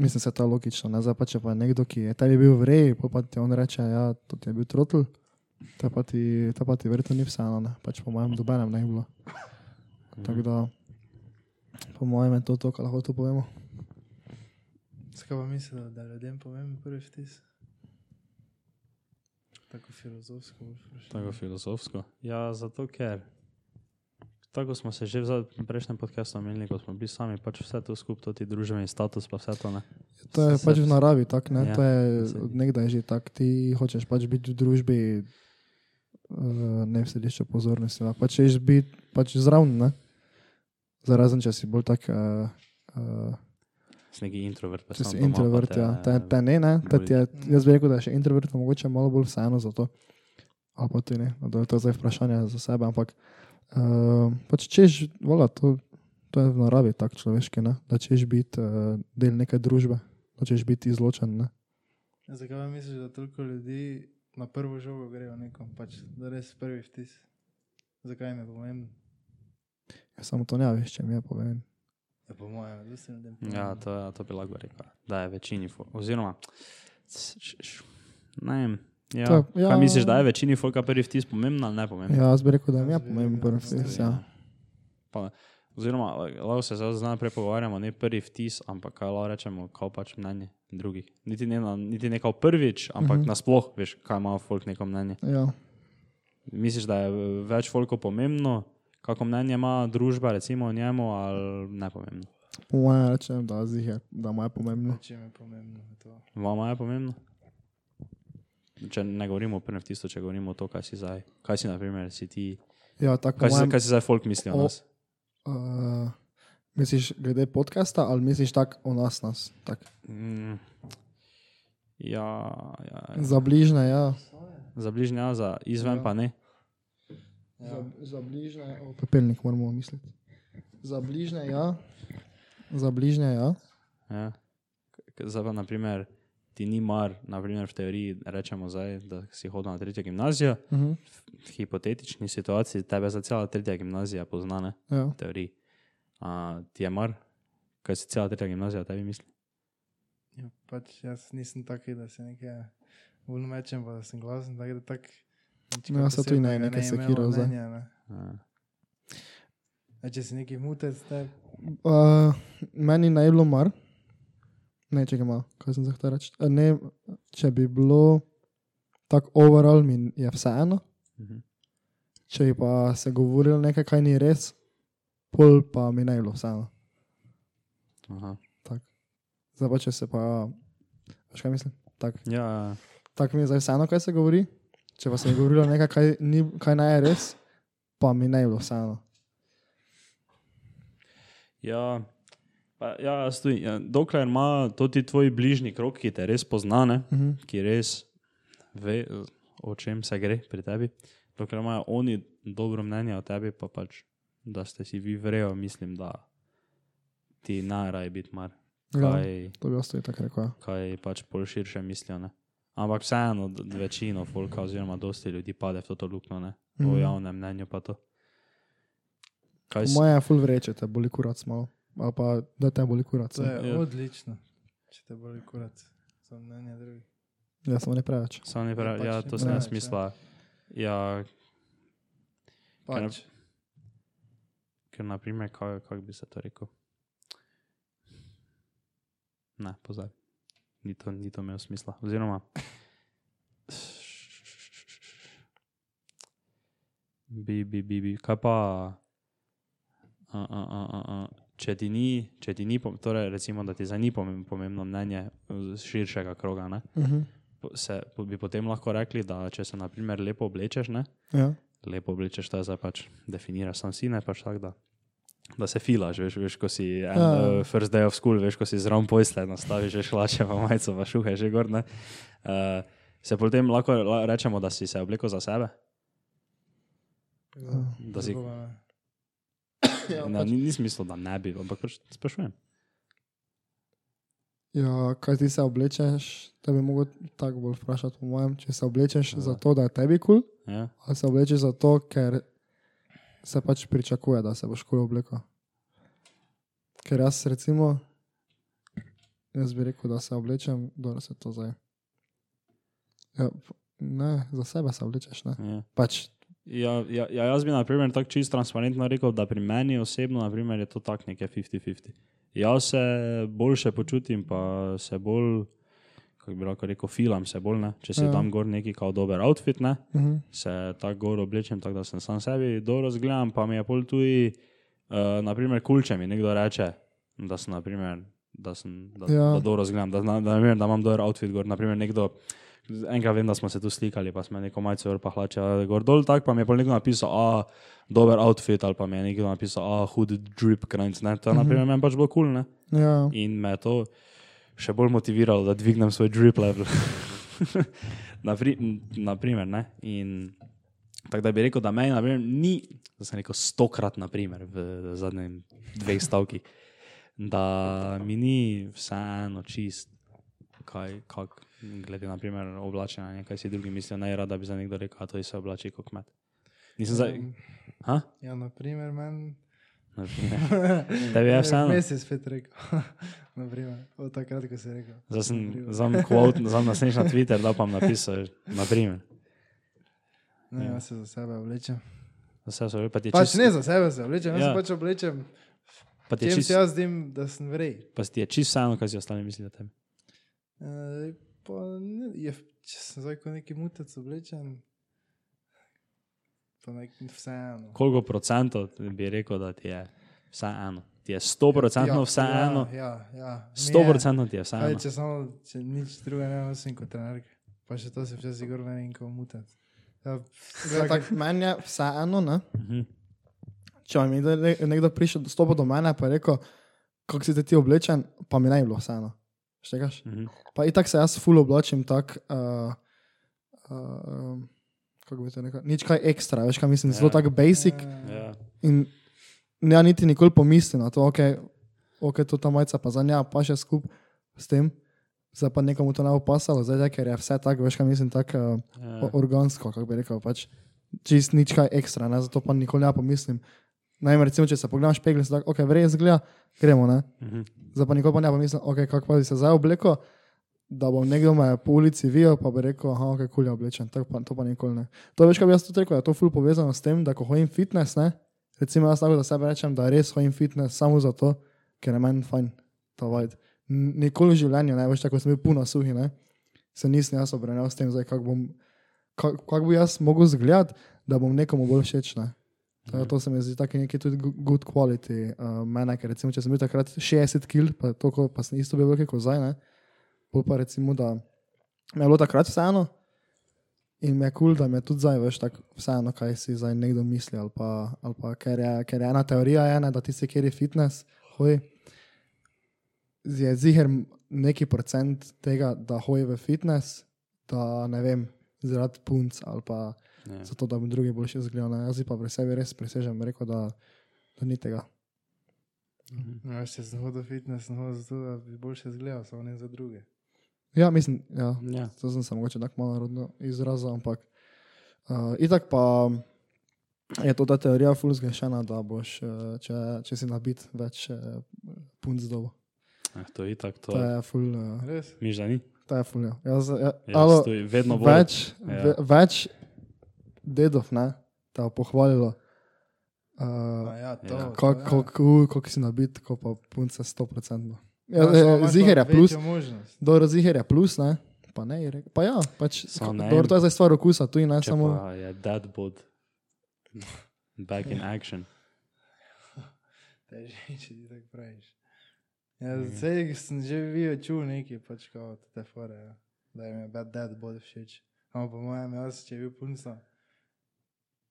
S2: mislim, se to je logično, ne, zdaj pa, če pa je nekdo, ki je tebi bil v reji, pol pa ti on reče, ja, to ti je bil trotl. Ta pa ti, ta pa ti verjetno ni vseeno, ne? pač po mojem, dobenem ne bi bilo. Tako da, po mojem, je to, to kar lahko tu povemo.
S3: Kaj pa misliš, da je ljudem pomemben prvi vtis? Tako filozofsko boš vprašal.
S1: Tako filozofsko. Ja, zato ker. Tako smo se že v zad- prejšnjem podkastu omenili, ko smo bili sami, pač vse to skupaj, ti družbeni status, pa vse to ne.
S2: To je
S1: Se-
S2: pač
S1: se-
S2: v naravi, tak, ne?
S1: Ja,
S2: Ja, to je
S1: se-
S2: od nekdaj že tako. Ti hočeš pač biti v družbi, uh, ne sediš pozornosti, ne? pač češ biti pač zraven, ne? zarazen, če si bolj tak. Uh, uh,
S1: Si neki introvert, pa
S2: Če si
S1: sam doma, pa
S2: introvert,
S1: te,
S2: ja,
S1: eh,
S2: te, te ne, ne, te
S1: boli.
S2: ti je, jaz bi rekel, da je še introvert, mogoče malo bolj vseeno za to. Ali pa ti ne, no, to je to zdaj vprašanje za sebe, ampak uh, pač češ, vola, to, to je v naravi tak človeški, ne? da češ biti uh, del neke družbe, da češ biti izločen. Ne?
S3: Zakaj Ja, pa misliš, da toliko ljudi na prvo žogo grejo nekom, pač, da res prvi vtis? Zakaj jim je pomemben?
S2: Ja, samo to ne veš, če mi je povem.
S3: Ja, po mojem, zelo sem ljudem.
S1: Ja,
S2: Mm.
S3: pomemben.
S1: to, ja, to bi lahko rekel. Da je večini folk. Oziroma, ne vem. Ja,
S2: To je-
S1: ja.
S2: ja.
S1: Kaj misliš, da je večini folka prvi vtis pomembna ali ne pomembna?
S2: Ja, jaz bi rekel, da mi je
S3: Jaz bi
S2: pomemben
S3: rekel, da
S2: prvi vtis. Ja.
S1: Pa, oziroma, lahko se zdaj znamo prepogovarjamo, ne prvi vtis, ampak kaj lahko rečemo, kao pač mnenje drugih. Niti ne, na- niti ne kao prvič, ampak uh
S2: Mhm.
S1: -huh. nasploh veš, kaj ima folk neko mnenje.
S2: Ja.
S1: Misliš, da je več folko pomembno, kako mnenje ima družba, recimo o njemu, ali ne pomembno?
S2: Po mojem rečem, da, zdaj je, da mu je pomembno.
S3: Čim je pomembno je to?
S1: Vama je pomembno? Če ne govorimo o prvem tisto, če govorimo o to, kaj si zdaj. Kaj si, na primer, si ti.
S2: Ja, tako
S1: Kaj
S2: po
S1: si,
S2: mojem-
S1: kaj si zdaj folk misli o
S2: O-
S1: nas?
S2: Uh, misliš glede podcasta ali misliš tako o nas? nas tak?
S1: Mm. Ja, ja, ja.
S2: Za bližne, ja.
S1: za bližnja, za izven
S3: Ja.
S1: pa ne.
S2: Za, za bližnje, o, pepelnik moramo misliti. Za bližnje, ja. Za bližnje, ja.
S1: Ja. K- k- Zdaj pa, na primer, ti ni mar, na primer, v teoriji rečemo zdaj, da si hodil na tretjo gimnazijo,
S2: Uh -huh.
S1: v hipotetični situaciji tebe za cela tretja gimnazija pozna, ne,
S2: ja.
S1: v teoriji. A, ti je mar, kaj si cela tretja gimnazija tebi misli?
S3: Ja, pač jaz nisem taki, da se nekaj vun mečem, pa da sem glasen, tako da tak. ničega
S2: No, jaz se tudi ne-
S3: posebnega
S2: nekaj
S3: imelo
S2: sekiral zdaj.
S3: mnenja, ne.
S1: A.
S3: A če si neki mutec, te
S2: Uh, meni naj bilo mar. Ne, če ga ima, kaj sem zahteval reči. Eh, Ne, če bi bilo tako overall, mi je vseeno.
S1: Mhm.
S2: Če bi pa se govorilo nekaj, kaj ni res, pol pa mi naj bilo vseeno.
S1: Aha.
S2: Zdaj pa če se pa, veš kaj mislim? Tako
S1: Ja, ja.
S2: tak mi je zdaj vseeno, kaj se govori. Če pa se je govorilo nekaj, kaj, ni, kaj naj je res, pa mi naj bilo vseeno.
S1: Ja, pa, ja, stoj, ja, dokler ima to ti tvoj bližnji krok, ki te res pozna, ne,
S2: Uh -huh.
S1: ki res ve, o čem se gre pri tebi, dokler imajo oni dobro mnenje o tebi, pa pač, da ste si vi vrejo, mislim, da ti najraje biti mar.
S2: ja,
S1: Kaj,
S2: to bi ostalo tako rekel. ja.
S1: kaj pač pol širše mislijo. Ne. Ampak vseeno, d- večino folka, oziroma dosti ljudi pade v to luknjo, ne? po
S2: Mhm.
S1: javnem mnenju pa to. Kaj si?
S2: Moje je full vrečete, boli kurac malo. Ali pa da te boli kurac.
S3: To
S2: ne.
S3: je
S1: Ja.
S3: odlično, če te boli kurat, za mnenje drugih.
S2: Ja, samo ne preveč.
S1: Sam ne pravi,
S3: pač
S1: ja,
S3: ne
S1: to sem jaz
S3: preveč, ne.
S1: mislila. Ja, Ker ne-
S3: Pač.
S1: ker naprimer, kako kak bi se to rekel. Ne, pozabi. Ni to, ni to imel smisla. Oziroma, bi, bi, bi, bi. kaj pa. A, a, a, a, a. Če ti ni, če ti ni pom- torej recimo, da ti zdaj ni pomem- pomembno mnenje eh, širšega kroga, ne,
S2: Uh -huh.
S1: po- se, po- bi potem lahko rekli, da če se na primer lepo oblečeš, ne,
S2: ja.
S1: lepo oblečeš, to je zdaj pač definiraš sam si, ne pač tako da. Da se filaš, veš, veš ko si en,
S2: Ja.
S1: uh, first day of school, veš, ko si zraven pojsle, nastaviš že hlače, pa majico, pa šuhe, že gor. ne. Uh, se potem lahko la- rečemo, da si se oblekel za sebe. Da si,
S3: Drugo ne.
S1: na, ni, ni smisla, da ne bi, ampak pač sprašujem.
S2: ja, kaj ti se oblečeš, te bi mogel tako bolj vprašati, po mojem, če se oblečeš
S1: Ja.
S2: ja. zato, da je tebi kul, cool,
S1: Ja?
S2: ali se oblečeš zato, ker se pač pričakuje, da se boš kul cool oblekel. Ker jaz recimo, jaz bi rekel, da se oblečem, da se to zdaj. Ja, p- ne, za sebe se oblečeš, ne.
S1: Ja.
S2: Pač,
S1: Ja, ja, ja, jaz bi na primer tako čisto transparentno rekel, da pri meni osebno na primer, je to tako nekaj 50-50. Jaz se boljše počutim, pa se bolj, kako bi lahko rekel, filam se bolj. Ne? Če si
S2: Ja.
S1: ja. tam gor neki kao dober outfit, ne?
S2: uh -huh.
S1: se tako gor oblečem, tako da sem sam sebi dobro zgledam, pa mi je pol tuji, uh, naprimer, kulče mi nekdo reče, da sem, naprimer, da, sem, da,
S2: Ja.
S1: ja. da dobro zgledam, da, zna- da, naprimer, da imam dober outfit gor. Naprimer, nekdo, enkrat vem, da smo se tu slikali, pa smo neko majico gor pa hlače eh, gor dol, tako pa mi je pol nekdo napisal, a dober outfit ali pa mi je nekdo napisal, a hud drip krajnc, ne, to je, naprimer, meni pač bilo kul, cool, ne.
S2: ja.
S1: In me je to še bolj motiviralo, da dvignem svoj drip level. Napri, m, naprimer, ne. In tako da bi rekel, da meni naprimer, ni, da sem rekel stokrat, naprimer, v zadnjem dveh stavkih, da mi ni vseeno čist, kaj, kak, glede na primer oblačenja, ne, kaj si drugi mislijo, naj rada bi za nekdo rekel, a to je se oblači kot kmet. Nisem zdaj,
S3: Mm.
S1: ha?
S3: Ja, naprimer, meni.
S1: Naprimer. Tebi je vseeno.
S3: Jaz sem spet rekel, naprimer, od takrat, ko si rekel.
S1: Zdaj sem,
S3: Naprimer.
S1: zdaj sem quote, zdaj nasneš na Twitter, da pa mi napisal, naprimer.
S3: Ne,
S1: Ja.
S3: jaz se za sebe oblečem.
S1: Vse so že pa ti
S3: Pač
S1: čisto-
S3: ne za sebe se oblečem, jaz
S1: Ja.
S3: se pač oblečem.
S1: pa ti je
S3: Čem
S1: čist,
S3: se jaz zdim, da sem vrej.
S1: pa ti je čisto vseeno, kaj si ostali mislijo o tem.
S3: Eh, Pa ne, je, če sem zdaj kot neki mutec oblečen, pa nek vseeno.
S1: Koliko procentov bi rekel, da ti je vseeno? Ti je 100% vseeno,
S3: Ja, ja, ja. Mi je.
S1: 100% ti je
S3: Kaj,
S1: vseeno.
S3: če samo če nič drugega ne nosim kot trenerke, pa še to se včasih gor ne vem, kako mutati. Ja,
S2: Zdaj, tak, meni je vseeno, ne.
S1: Mhm.
S2: Če mi je ne- nekdo prišel do stopa do mene in rekel, kako si zdaj ti oblečen, pa mi naj bilo vseeno. Štegaš?
S1: Mhm.
S2: Pa in tako se jaz ful oblačim, tako. Uh, uh, kako bi to rekel? Nič kaj ekstra, veš kaj mislim, zelo
S1: Ja.
S2: tako basic.
S1: Ja.
S2: In ja, niti nikoli pomislim na to, ok, okay to ta majica pa za nja, pa še skup s tem. Zdaj pa nekomu to ne bo pasalo, zdaj ker je vse tako, veš kaj mislim, tako. Uh,
S1: Ja.
S2: o- organsko, kako bi rekel, pač čist nič kaj ekstra, ne? zato pa nikoli ne pomislim. Najmer, recimo, če se pogledaš špegel, si tako, ok, res gleda, ja, gremo, ne.
S1: Mhm.
S2: Zdaj pa nikoli pa ne pomislim, ok, kako pa bi se zdaj obleko, da bom nekdo me po ulici videl, pa bi rekel, aha, ok, kulja oblečen, tako pa, to pa nikoli ne. To veš, kaj bi jaz tudi rekel, da je to ful povezano s tem, da ko hodim fitness, ne, recimo jaz tako da sebe rečem, da res hodim fitness samo zato, ker je meni fajn, ta vajd. N- Nikoli v življenju, ne veš, tako sem bil puno suhi, ne, se nisem jaz obrenal s tem, zdaj kako bom, kako kak bi jaz mogel zgledati, da bom nekomu bolj všeč, ne. Tako da To se mi zdi tako neki tudi gu- good quality uh, mene, ker recimo, če sem bil takrat 60 kg, pa, toliko- pa sem isto bil velik kot zdaj, ne. Pol pa recimo, da me je bilo takrat vseeno in mi je kul, cool, da me tudi zdaj veš tako vseeno, kaj si zdaj nekdo misli. Ali pa, ali pa, ker, je, ker je ena teorija, je, ne, da ti se kjer je fitness, hoj, je ziger neki procent tega, da hoj v fitness, da ne vem, zaradi punc ali pa
S1: Ja.
S2: zato, da bom drugi boljši izgledal. ne. Jaz si pa pri sebi res presežem, rekel, da, da ni tega.
S3: Ja, še sem hodil fitness, no, zato da bi boljše izgledal, samo ne za druge.
S2: Ja, mislim, ja.
S1: Ja.
S2: To sem se mogoče tako malo narodno izrazil, ampak uh, itak pa je to ta teorija ful zgrešena, da boš, eh, če, če si nabit, več eh, punc dobo.
S1: Eh, to je tako. To...
S2: To je ful, eh,
S3: Res?
S1: Miš, da ni?
S2: to je ful, ja. Jaz, ja,
S1: Jaz to je vedno bolj.
S2: več,
S1: Ja.
S2: ve, več dedov, ne, te je pohvalilo. Uh,
S3: A Ja, to,
S1: Ja.
S3: to,
S2: kako
S3: ja.
S2: kak, kak si nabit, ko pa punce 100%. Ja,
S3: Ja, samo
S2: ja,
S3: imaš
S2: Ziher je
S3: pa
S2: plus,
S3: večjo možnost.
S2: dobro, ziher je plus, ne? Pa ne, je rekel. Pa ja, pač.
S1: Samo ne.
S2: Dobro, to je zdaj stvar okusa, tu in ne
S1: Če
S2: samo.
S1: pa je dead bod. Back in action.
S3: Teže, je, če ti tako praviš. Ja, zdaj sem že videl, čutil nekaj, pač kao te fore, ja. da jim je bad dad bolj všeč. Ampak po mojem, jaz, če bi punca,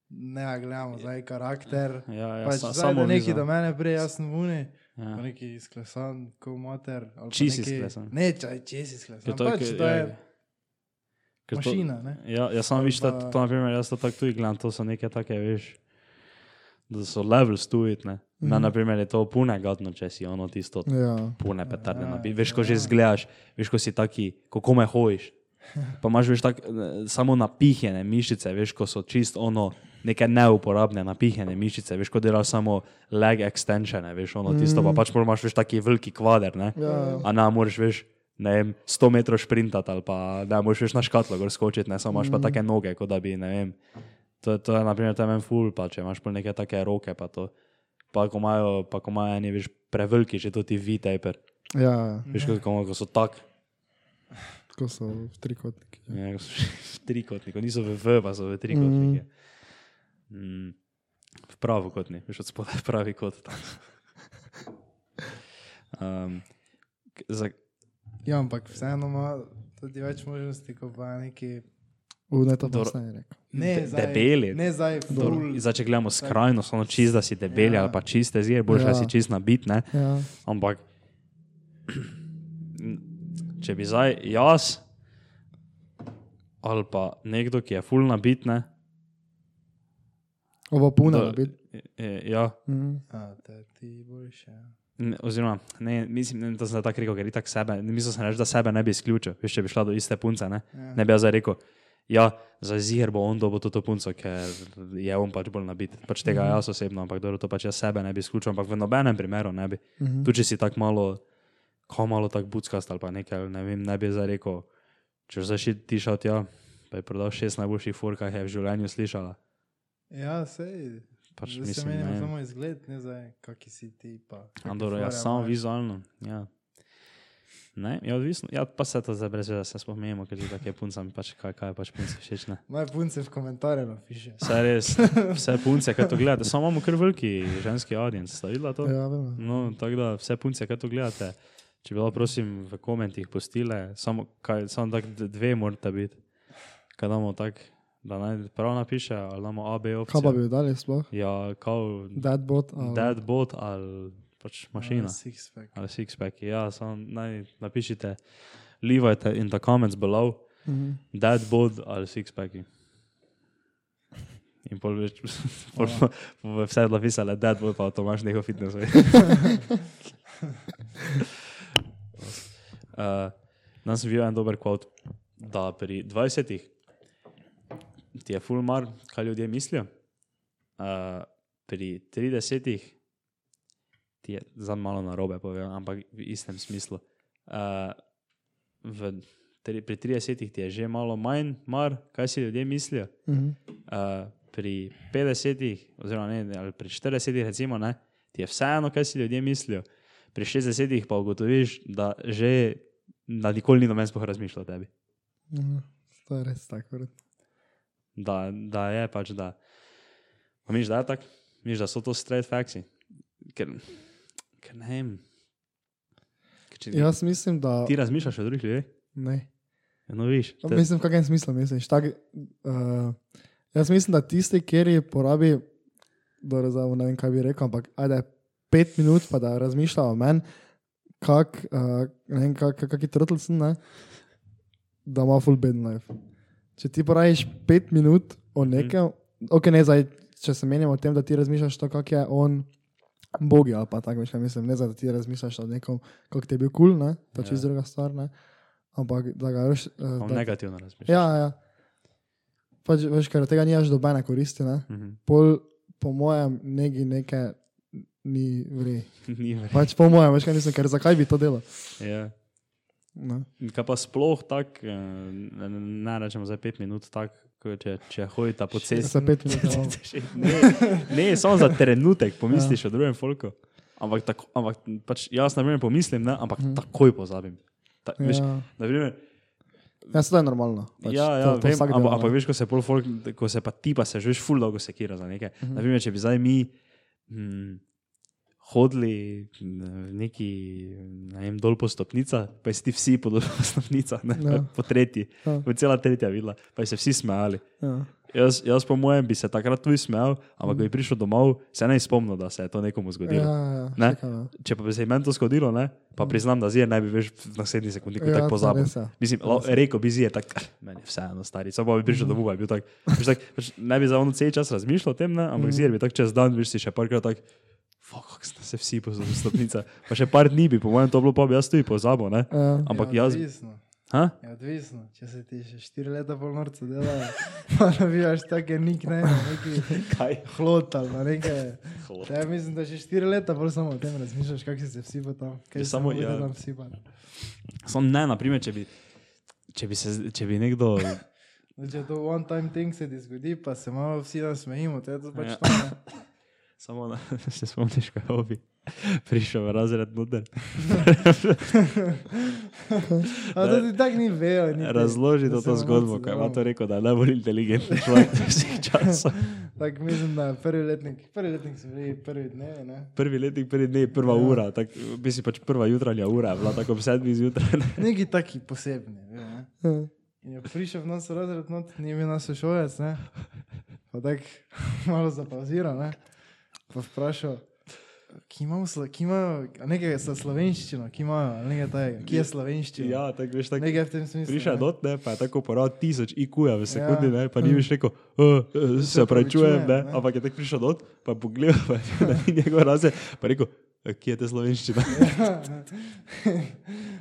S3: ne ja gledamo zdaj karakter.
S1: Ja, ja,
S3: Pač
S1: sa, samo
S3: samo neki do
S1: vizual.
S3: mene prej, jaz sem vune, pa
S1: Ja.
S3: neki izklesan, ko mater. ali pa
S1: Čist
S3: neki-
S1: izklesan.
S3: Ne, čaj, če
S1: Ker
S3: si izklesan.
S1: to je,
S3: Pač,
S1: ker-
S3: to
S1: ja,
S3: je
S1: Ker to-
S3: mašina, ne?
S1: Ja, jaz sam viš, da
S3: pa-
S1: to na primer, jaz to tako tudi gledam, to so neke take, veš, da so levels tu it, ne. Na, na primer je to pune gadno, če si ono tisto
S2: Ja,
S1: pune petarde
S3: Ja,
S1: nabi. Veš, ko že zgledaš, veš, ko si taki, ko kome hojiš. Pa imaš veš tako eh, samo napihene mišice, veš, ko so čist ono, neke neuporabne napihene mišice, veš, ko delaš samo leg extensione, veš, ono tisto, pa pač moraš veš taki veliki kvader, ne.
S2: ja,
S1: A ne moreš, veš, ne vem, 100 metrov sprintati ali pa ne moreš veš na škatlo gor skočiti, ne samo imaš pa take noge, kot da bi, ne vem. To, je- to je, na primer, tam en ful, pa če imaš pa neke take roke, pa to. Pa ko imajo, pa ko imajo eni, veš, preveliki, že to ti V-taper.
S2: ja, ja,
S1: Veš, kot ko, ko so tak.
S2: tako so v trikotniki.
S1: Ja, ko so v trikotniku, niso v V, pa so v trikotniku.
S2: Mhm.
S1: Mm. V pravokotni, veš, od spodaj pravi kot. Um, k- za,
S3: Ja, ampak vseeno ima tudi več možnosti, kot pa neki.
S2: V ne to
S1: Dobro.
S2: pa ne rekel.
S1: De-
S3: Ne, zdaj,
S1: debeli.
S3: Ne, zdaj,
S1: Dobro,
S3: ful,
S1: Zdaj, če gledamo skrajno, samo čist, da si debel ja. ali pa čiste zir, boš ja.
S2: Ja.
S1: si čist nabit, ne?
S2: Ja,
S1: Ampak, če bi zdaj jaz ali pa nekdo, ki je full nabit, ne?
S2: oba puna
S1: Dobro.
S2: nabit.
S1: e, Ja,
S2: Mhm.
S3: A, te ti boš, ja.
S1: Ne, oziroma, ne, mislim, ne, to sem zdaj tako rekel, ker itak sebe, ne mislim, reči, da sebe ne bi izključil, veš, če bi šla do iste punce, ne, ja. ne bi jaz zdaj rekel, ja, za zir bo on dobil to, to punco, ker je on pač bolj nabit, pač tega
S3: Mhm.
S1: mm -hmm. jaz osebno, ampak dobro, to pač jaz sebe ne bi izključil, ampak v nobenem primeru ne bi, mm
S3: Mhm.
S1: -hmm. tudi če si tako malo, ko malo tako buckast ali pa nekaj, ali ne vem, ne bi zdaj rekel, če boš zdaj šel ti šel tja, pa je prodal šest najboljših furk, kar je v življenju slišala,
S3: Ja, sej.
S1: pač
S3: Zdaj se
S1: mislim, ne.
S3: menimo
S1: vem.
S3: samo izgled, ne zdaj, kaki si ti. Pa, kake
S1: Andor, ja,
S3: fore
S1: samo
S3: imaš.
S1: vizualno. Ja. Ne, je odvisno. Ja, pa se to zdaj brez veze, se spomenimo, ker že tako je puncam, pač kaj, kaj je pač punce všeč. Ne?
S3: Naj punce v komentarje napiše.
S1: Vse res, vse punce, kaj to gledate, samo imamo kar veliki ženski audience, sta videla to?
S2: Ja, vem.
S1: No, tako da vse punce, kaj to gledate, če bi bilo, prosim, v komentih postile, samo, kaj, samo tak d- dve morata biti, kaj damo tak, da naj prav napiše, ali damo AB
S2: Kaj pa
S1: opcijo.
S2: bi ja. dali sploh?
S1: Ja, kao
S2: Deadbot. ali-
S1: deadbot ali pač mašina.
S3: Six pack.
S1: ali sixpack. Ja, samo naj napišite, leavite in the comments below,
S2: Mhm.
S1: dead bod ali sixpack. In pol več, pol pa- pa bo vse napisale, dead bod pa Tomaš njegov fitness. ve. uh, Nam sem bil en dober kvot, da pri 20-ih ti je full mar, kaj ljudje mislijo. Uh, pri 30-ih ti je za malo na robe, povem, ampak v istem smislu. Uh, v, tri, pri 30 ti je že malo manj, mar, kaj si ljudje mislijo.
S2: Mhm.
S1: Uh, pri 50, oziroma ne, ali pri 40, recimo, ne, ti je vseeno, kaj si ljudje mislijo. Pri 60 pa ugotoviš, da že da nikoli ni noben sploh razmišljal o tebi.
S2: Mhm. To je res tako. verjetno.
S1: Da, da je pač, da. Pa miš, da je tako, miš, da so to straight facts. Ker, ker ne vem. Ker če,
S2: Jaz mislim, da.
S1: Ti razmišljaš o drugih ljudeh?
S2: Ne.
S1: Ja, No, viš.
S2: Ja,
S1: te-
S2: Mislim, v kakšnem smislu misliš. Tak, uh, jaz mislim, da tisti, kjer porabi, dobro, zdaj ne vem, kaj bi rekel, ampak ajde, pet minut, pa da razmišlja o meni, kak, uh, ne vem, kak, kak, kak je trtlcen, ne, da ima full bed life. Če ti porabiš pet minut o nekem, mm. ok, ne zdaj, če se menimo o tem, da ti razmišljaš to, kak je on. Bogi ali pa tako, veš, kaj mislim, ne za to, da ti razmišljaš o nekom, kako ti je bil kul, cool, ne, to je čisto druga stvar, ne. ampak da ga veš.
S1: Imam negativno razmišljanje.
S2: Ja, ja. Pač, veš, ker od tega nimaš dobene koristi. Ne?
S1: Mhm.
S2: Pol, po mojem, negi nekaj ni vri.
S1: Ni verjetno.
S2: Pač po mojem, veš, kaj nisem, ker zakaj bi to delal?
S1: Ja.
S2: Ne?
S1: In Kaj pa sploh tako, eh, ne- ne ne rečemo za pet minut, tako, ko če, če hojita po cesti.
S2: Za pet minut. ja.
S1: ne, ne, samo za trenutek pomisliš ja. o drugem folku. Ampak, tako, ampak pač, jaz na primer pomislim, ne, ampak mm. takoj pozabim. Ta, ja. veš,
S2: Ja,
S1: na primer,
S2: ja sedaj je normalno.
S1: pač, ja, ja, to,
S2: to no.
S1: vem,
S2: vsak
S1: ampak,
S2: dela,
S1: ampak
S2: ne.
S1: veš, ko se, pol folk, ko se pa ti pa se že veš ful dolgo sekira za nekaj. Mm. Naprimer, če bi zdaj mi hm, hodili hm, neki, ne vem, dol po stopnicah, pa si ti vsi po dol po stopnicah, ne,
S2: Ja.
S1: ja. po tretji,
S2: Ja.
S1: ja. po cela tretja videla, pa bi se vsi smejali.
S2: Ja.
S1: Jaz, jaz po mojem, bi se takrat tudi smejal, ampak mm. ko bi prišel domov, se ne spomnim, da se je to nekomu
S2: Ja,
S1: zgodilo. Ja.
S2: ja,
S1: Ne?
S2: čakaj, ja.
S1: Če pa bi se meni to zgodilo, ne, pa priznam, da zdaj ne bi več v naslednji sekundi ja,
S2: Ja,
S1: tako
S2: to Mhm.
S1: pozabil.
S2: res je.
S1: Mislim, la, rekel bi zije, tako, "Ah, meni je vseeno stari, samo pa bi prišel domov, pa bi bil tak, veš, tak, pač ne bi za ono cel čas razmišljal o tem, ne, ampak
S2: Mhm.
S1: zije bi tako čez dan, veš si še parkrat tak. Fok, kako se vsi pozabili stopnice. Pa še par dni bi, po mojem, to bilo pa bi jaz tudi pozabil, ne?
S2: Ja.
S1: Ampak
S3: je
S1: jaz...
S3: Odvisno.
S1: Ha?
S3: Je Ja, odvisno, če se ti še štiri leta pol norca dela, pa navijaš take nikne, neki
S1: Kaj?
S3: hlot ali pa nekaj.
S1: Hlot.
S3: Ja, mislim, da že štiri leta bolj samo o tem razmišljaš, kako si se vsi pa tam. Kaj
S1: Je
S3: si
S1: samo,
S3: se
S1: ja.
S3: tam vsi pa.
S1: Sam ne, naprimer, če bi, če bi, se, če bi nekdo...
S3: Zdaj, No, Če to one time thing se ti zgodi, pa se malo vsi tam smejimo, to je to pač
S1: Ja.
S3: ja. tam.
S1: Samo na, se spomniš, kaj je obi. Prišel v razred nuder.
S3: Ampak to ti tako ni vejo. niti,
S1: Razloži
S3: da
S1: to,
S3: se
S1: to
S3: na
S1: zgodbo, torej. ko je
S3: norca delamo.
S1: Mato rekel, da je najbolj inteligenten človek vseh časov.
S3: Tako mislim, da je prvi letnik, prvi letnik so bili prvi dnevi, ne?
S1: Prvi letnik, prvi dne, prva ja. ura, tak, mislim pač prva jutranja ura, je bila tako ob sedmih zjutraj. ne.
S3: Neki taki posebni, veš, ne?
S2: Ja.
S3: In je prišel v nas razred, no, ni bil nas šolec, ne? Pa tako malo zapauziral, ne? Pa vprašal, ki imamo, slo- ki imajo, a nekaj sa slovenščino, ki imajo, ali nekaj tajega, ki je slovenščina.
S1: Ja, tako veš, tako.
S3: nekaj v tem smislu.
S1: Prišel je
S3: ne.
S1: dot, ne, pa je tako poral tisoč IQ-ja v sekundi,
S3: Ja.
S1: ne, pa ni več rekel, "Eh, eh, se opravičujem,
S3: opravičujem,
S1: ne,
S3: ne.
S1: ampak je tako prišel dot, pa je pogledal, pa je videl, da ni njegov razred, pa je rekel, "Eh, kje je te slovenščina?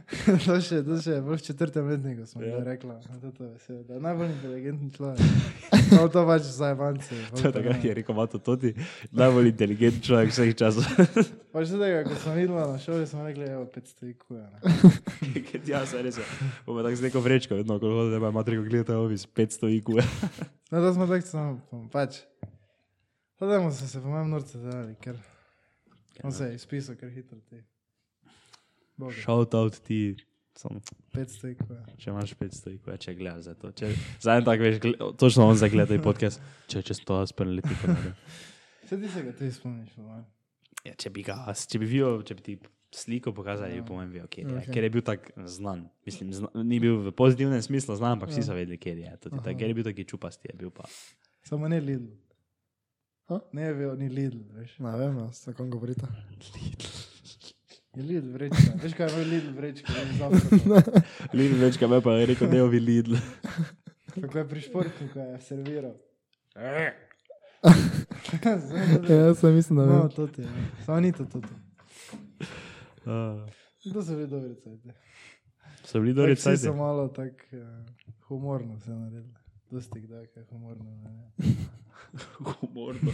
S3: to še, to še, bolj v četrtem letniku smo
S1: Ja.
S3: ja. rekla, na to to vesel, da je najbolj inteligenten človek. No, to pač za evance.
S1: To je takrat, ki je rekel, Mato, to ti najbolj inteligenten človek vseh časov.
S3: Pač tega, ko smo videla na šoli, smo rekli, evo, 500 IQ. ja, ne.
S1: ja, se res je. Bomo tako z neko vrečko, vedno, ko hodite, pa matriko gledate, ovi s 500 IQ.
S3: No, to smo tako samo, pa- pač. Tademo so se po mojem norce delali, ker on se je izpisal, ker hitro ti. Boga,
S1: Shout out ti. Sam,
S3: 500 IQ. ja.
S1: če imaš 500 IQ, ja, če gledaš za to. Če, za en tak veš, gled, točno on zagleda in podcast. Če čez to jaz prvi leti ponavljam.
S3: Se ti se ga ti spomniš, po mojem.
S1: Ja, če bi ga, če bi videl, če bi ti sliko pokazali, bi po mojem videl, kje je.
S2: Okej.
S1: Okay. Ker je bil tak znan. Mislim, zna, ni bil v pozitivnem smislu znan, ampak vsi so vedeli, kje je. Tudi tak, ker je bil taki čupasti, je bil pa.
S3: Samo ne Lidl.
S2: Ha?
S3: Ne je bil, ni Lidl, veš.
S2: Ne vem, jaz, o kom govorite.
S3: Je Lidl vrečka. Veš kaj je Lidl vrečka? veš, zavtrk.
S1: Lidl večka me pa je rekel, ne ovi Lidl.
S3: Kako je pri športniku je serviral.
S2: Ja, jaz sem mislim, da vem.
S3: no, to ti je. ne. Samo ni to, to ti.
S1: Uh,
S3: To so bili dobri cajti.
S1: so bili
S3: Tako
S1: dobri
S3: Vsi so
S1: cajti.
S3: malo tako uh, humorno se naredili. Dosti kdaj, kaj je humorno. ne.
S1: Ja, Humorno.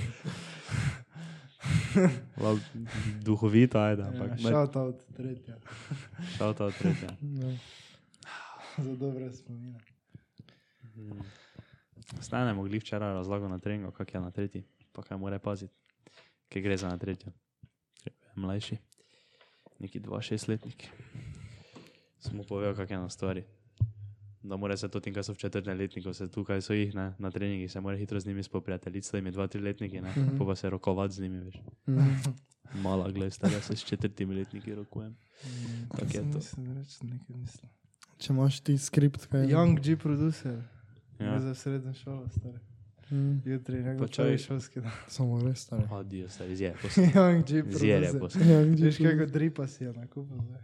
S1: Lab, duhovito, ajde, ampak
S3: Ja,
S1: ja,
S3: Shout out, tretja. No.
S1: šel ta tretja.
S2: Ja.
S3: Za dobre spomine.
S1: Hmm. Stane mogli včeraj razlago na treningu, kak je na tretji, pa kaj mora paziti, kaj gre za na tretjo. Mlajši, neki 2-6 letnik. Samo povejo, kak je na stvari. Da mora se to tem, kar so v četrtem letniku, se tukaj so jih ne, na treningih, se mora hitro z njimi spoprijateljiti, s temi 2-3 letniki, ne, mm -hmm. pa, pa se rokovati z njimi, veš.
S2: mm.
S1: Mala, gledaj, stara se s četrtimi letniki rokujem. Tako je to.
S3: Mislim, reči nekaj mislim.
S2: Če imaš ti skript, kaj je.
S3: Young G producer. Ja.
S1: Ja.
S3: Za srednjo šolo, stari.
S2: Mm,
S3: Jutri, nekdo
S1: Počakaj.
S3: prvi šolski dan.
S2: samo res, stari.
S1: Adijo se, izjebo se.
S3: Young G
S1: Zjere bo
S3: producer.
S1: se.
S2: Young
S3: Veš,
S2: G.
S3: kako dripa si je nakupil. zdaj.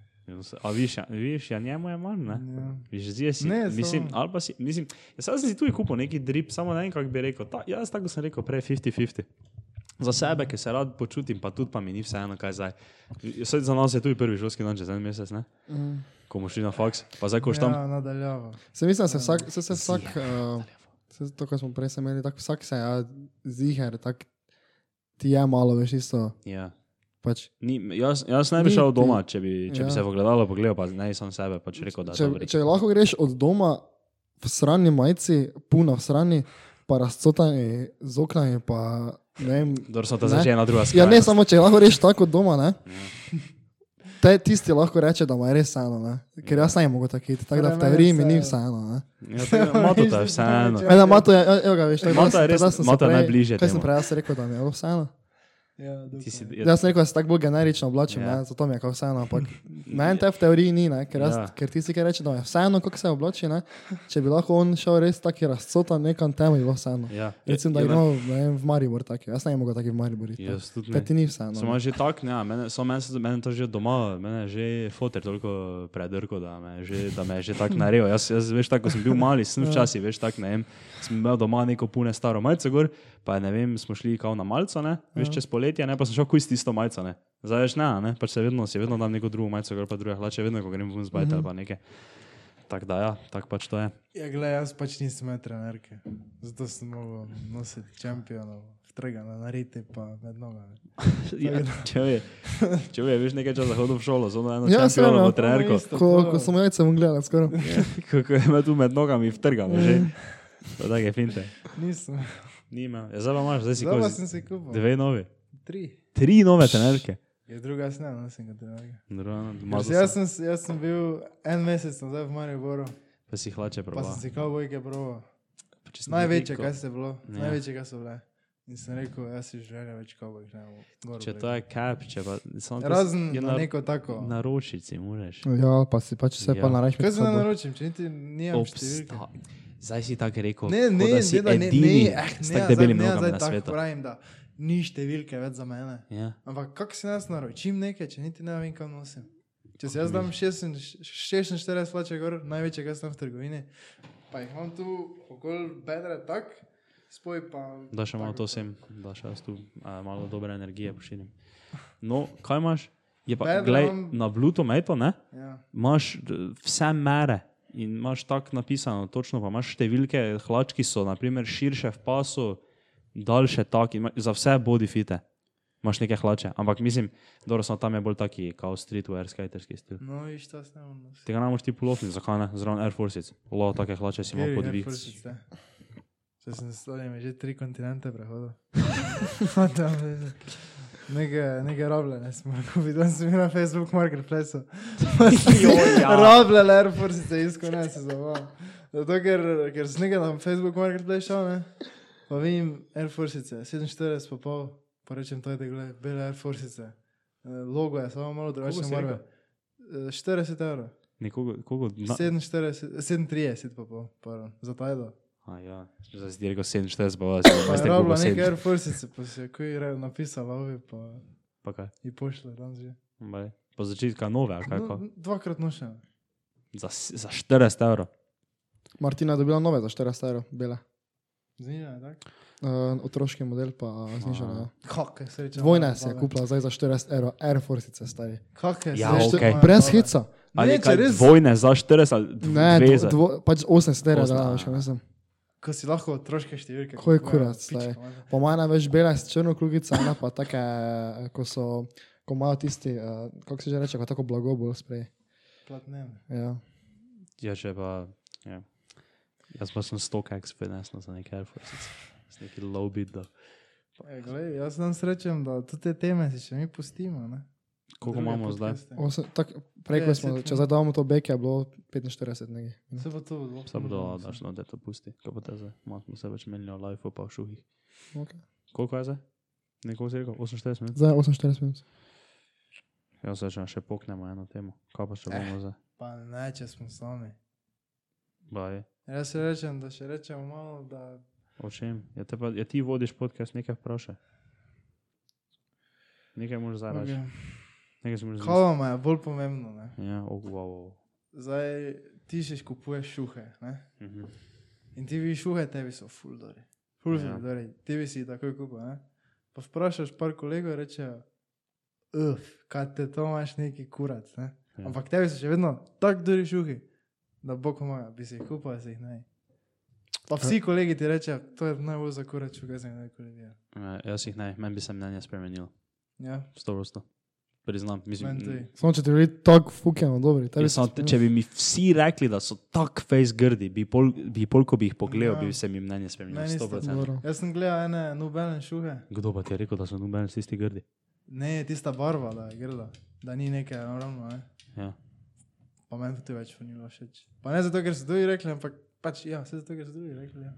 S1: A viš, ja- viš, ja njemu je manj, ne?
S3: Ja.
S1: Viš, zdaj si,
S3: Ne,
S1: ne, mislim,
S3: samo-
S1: ali pa si, mislim, jaz sem si tudi kupil neki drip, samo ne vem, kako bi rekel. Ta, jaz tako sem rekel, prej 50-50. Za sebe, ki se rad počutim, pa tudi pa mi ni vseeno, kaj zdaj. Saj za nas je tudi prvi šolski dan, čez en mesec, ne?
S2: Mm.
S1: ko bomo šli na faks, pa zdaj, ko štam.
S3: Ja, nadaljavo.
S2: Se mislim,
S1: Ehm,
S2: da se vsak, se, se vsak uh, se, to, kar smo prej se imeli, tako vsak se ja, ziger, tak, ti je malo veš isto.
S1: Ja.
S2: Pač,
S1: Ni, jaz, jaz ne bi
S2: Ni
S1: šel
S2: ti-
S1: doma, če bi, če bi
S2: ja.
S1: se pogledalo, pogledal pa ne sam sebe, pač rekel, da
S2: če,
S1: dobro,
S2: če lahko greš od doma v srani majici, puna v srani, pa razcotani z okna, pa ne vem.
S1: Dobro, so ta
S2: Ne.
S1: začela druga
S2: Ja,
S1: stvar.
S2: ne samo, če lahko reš tako od doma, ne.
S1: Ja.
S2: Te, tisti lahko reče, da mu je res vseeno, ne? ker
S1: Ja.
S2: jaz ne mogu tako iti. Tako da v
S3: Torej, meni je
S2: teoriji mi ni
S3: vseeno.
S2: vseeno. Ne?
S1: Mato je vseeno.
S2: Ena mato je, evo ga, veš, tako da
S1: Mato je
S2: sem-
S1: res-
S2: tako da sem se
S1: Mato je
S2: prej-
S1: najbližje
S2: Kaj sem
S1: temu.
S2: prej jaz rekel, da mi je bilo vseeno?
S3: Ja,
S1: Ti si,
S3: dokaj.
S1: je,
S2: Jaz sem rekel, da se tako bolj generično oblačim,
S1: Ja.
S2: yeah. zato mi je kao vseeno. Ampak meni te v teoriji ni, ne, ker, jaz,
S1: Ja.
S2: yeah. ker tisti, ki reče, da je vseeno, kako se oblači, ne, če bi lahko on šel res taki razcota nekam temu, bi bilo vseeno.
S1: ja.
S2: Recimo, da
S1: Ja,
S2: imamo ne vem, v Maribor taki, jaz ne mogu taki v Maribor. iti, ne.
S1: Jaz tudi
S2: Ker
S1: ne.
S2: ti ni vseeno.
S1: Samo že tak, ne, meni, samo meni, se- meni to že doma, meni je že foter toliko predrko, da me je že, da me je že tako narejo. Jaz, jaz veš, tako ko sem bil mali, sem včasih, veš, tako ne vem, sem imel doma neko pune staro majico gor, pa ne vem, smo šli kao na malco, ne, veš, čez poletje, ne, pa sem šel kuj s tisto majico, ne. Zdaj veš, ne, ne, pač se vedno, si vedno dam neko drugo majico gor, pa druge hlače, vedno, ko grem ven z bajta ali pa nekaj. Tako da ja, tako pač to je.
S3: Ja, gled, jaz pač nisem imel trenerke, zato sem mogel nositi čempionov, trgano narediti pa med nogami.
S1: Ja, če je, če je, veš, nekaj časa hodil v šolo, zelo eno
S2: Ja,
S1: časa,
S3: no,
S2: seveda.
S1: eno trenerko.
S2: Ko, ko sem jaz, sem gledal skoraj.
S1: Kako je me tu med nogami vtrgano že. To je Take finte.
S3: Nisem.
S1: Nima. Ja, zdaj pa imaš, zdaj si
S3: Zdaj pa
S1: kot
S3: sem se kupil.
S1: dve novi.
S3: Tri.
S1: Tri nove trenerke.
S3: Ja, druga jaz ne nosim kot trenerke.
S1: Druga, doma
S3: Ker
S1: so
S3: se- Jaz sem, s- jaz sem bil en mesec nazaj v Mariboru,
S1: Pa si hlače
S3: pa
S1: probala.
S3: sem si kavbojke proval.
S1: Pa če si
S3: Največje,
S1: rekel,
S3: kaj se je bilo,
S1: Ja.
S3: ja. največje, kaj so bile. In sem rekel, jaz si želim več kavbojk, ne bom. gor
S1: Če to
S3: vlekel.
S1: je cap, če pa... Samo to
S3: Razen
S1: je
S3: na neko tako.
S1: Na ročici, moraš.
S2: Ja, pa si pač se
S1: Ja.
S2: ja. pa naraš.
S3: Kaj se ne naročim, če niti nimam številke.
S1: Obsta. Zdaj si tako rekel, kot
S3: Ne,
S1: da
S3: ne,
S1: si
S3: ne, da ne,
S1: edini
S3: ne, eh,
S1: s
S3: ne,
S1: tako
S3: zdaj-
S1: debelim
S3: ne, zdaj
S1: nogami na
S3: tako
S1: svetu.
S3: Pravim, da ni številke več za mene.
S1: Ja.
S3: Ampak kako si nas naročim nekaj, če niti ne vem, kam nosim. Če se jaz dam 46 46 plače gor, največje, kar sem v trgovini, pa jih imam tu okoli bedra tak, spoj pa...
S1: Da še malo
S3: tako.
S1: to sem, da še jaz tu a, malo dobre energije pošiljam. No, kaj imaš? Je pa,
S3: Bedro
S1: glej,
S3: imam-
S1: na Bluetooth meto, ne?
S3: Ja.
S1: imaš d- vse mere in imaš tako napisano, točno pa imaš številke, hlač, ki so naprimer, širše v pasu, daljše tako, in ima- za vse body fite. Imaš neke hlače, ampak mislim, da so tam je bolj taki, kot streetwear, skaterski stil.
S3: No, viš, to snemam nositi.
S1: Tega ne moreš ti poloviti, zakaj ne, zraven Air Force. Lo, take hlače si imel pod vic.
S3: Če sem stoljen, že tri kontinente prehodil. Ma tam, veze. Neke, neke robljene smo, ko vidim, sem bil na Facebook marketplaceu.
S1: Joja.
S3: Roble, Air Force se isko ne se zabavam. Zato, ker, ker sem nekaj na Facebook marketplace šel, ne? Pa vidim Air Force, 47 pa pol, pa rečem, to je te gled, bele Air Force. Logo je samo malo drugačne
S1: si
S3: barve. Eh, 40 evrov.
S1: Nekoga, kogo, na,
S3: 47, 37 pa pol, pardon, za tajdo.
S1: a ja, zdaj si ti rekel 47, pa vas je
S3: Pa je
S1: 17,
S3: rabila
S1: kogo
S3: neke
S1: 7.
S3: Air Force, pa si je kuj re- napisala ovi, pa
S1: Pa kaj,
S3: ji pošle danes že.
S1: baj. Pa začetka nove, ali kako?
S3: No, dvakrat nošena.
S1: Za, s- za 40 evrov.
S2: Martina je dobila nove za 400 evrov, bele.
S3: Znižena je tako?
S2: Uh, otroški model pa znižena.
S1: Aha.
S2: ja.
S3: Kako je sreča?
S2: Dvojna si je kupila zdaj za 40 evrov, Air Force stavi.
S3: Kako je
S1: Ja,
S3: sreča?
S1: okej.
S3: moja
S2: Brez
S3: baba.
S2: hica.
S1: Ali
S3: Ne,
S1: ne,
S3: če
S1: kaj,
S3: res,
S1: res... dvojne za 40 ali
S2: Ne,
S1: dve
S2: dvo,
S1: za
S2: dvo, pač 80 evrov,
S1: Osem,
S2: da,
S1: a.
S2: še mislim.
S3: ko si lahko otroške številke.
S2: Ko je
S3: kupujemo,
S2: kurac,
S3: pička
S2: staj.
S3: mater.
S2: Po mojem največ bela s črno klugico, ena pa take, eh, ko so, ko imajo tisti, uh, kako se že reče, ko tako blago bolj sprej.
S3: Platnem.
S2: Ja.
S1: Ja, če pa. Ja. Jaz pa sem 100x prenesel za nekaj Air Force, z neki low bid. da-
S3: E, glej, jaz nam srečam, da tudi te teme si še mi pustimo. ne.
S1: Koliko
S3: Druge
S1: imamo zdaj?
S3: podcaste.
S2: Osem, tak, prej, ko smo,
S3: 50,
S2: če zdaj damo to beke, je bilo 45 nekaj.
S3: Se bo to zelo.
S1: Samo da daš na to pusti, kaj bo te zdaj. Malo smo se več menili o life, pa v šuhih.
S2: Okay.
S1: Koliko je zdaj? Neko si rekel, 48 minut.
S2: Zdaj 48 minut.
S1: Jaz se še poknemo eno temo. Kaj pa
S3: Eh.
S1: še bomo zdaj?
S3: Pa ne, če smo sami.
S1: Baj.
S3: Jaz se rečem, da še rečemo malo, da
S1: O čem? Ja, te pa, ja ti vodiš podcast, nekaj vprašaj. Nekaj moraš zdaj reči.
S3: okay.
S1: Nekaj si moraš zdaj.
S3: kava ma je bolj pomembno. Ne?
S1: Ja, oh, wow. wow.
S3: Zdaj ti še kupuješ šuhe. Ne?
S1: Mhm.
S3: In ti vi šuhe, tebi so fuldori. Fuldori,
S1: Ja.
S3: ja. tebi si jih takoj kupil. ne. Pa vprašaš par kolegov in rečejo, uf, kaj te to imaš neki kurac. Ne?
S1: Ja.
S3: Ampak tebi so še vedno tako duri šuhi, da bo komaja, bi se jih kupal, se jih naj. Pa vsi kolegi ti rečejo, to je najbolj za kurac, če ga znajo kolegi.
S1: Ja, jaz jih ne, meni bi se mnenje spremenilo.
S3: Ja,
S1: Sto vrsto. Priznam, mislim. mm.
S3: meni tudi.
S2: Samo če ti bili tako fukjeno dobri, tebi
S1: Jaz
S2: se
S1: Sam,
S2: spremeni.
S1: če bi mi vsi rekli, da so tako face grdi, bi, pol, bi pol, ko bi jih pogledal,
S3: Ja.
S1: bi se mi mnenje spremenilo.
S3: Meni isto.
S1: 100%.
S2: Dobro.
S3: Jaz sem gledal ene nobene šuhe,
S1: Kdo pa ti je rekel, da so nobeni vsi tisti grdi?
S3: ne tista barva, da je grda, da ni nekaj naravno. Ne?
S1: Ja.
S3: Pa meni to tudi več ni bilo všeč. Pa ne zato, ker so drugi rekli, ampak pač ja, vse zato, ker so drugi rekli. Ja.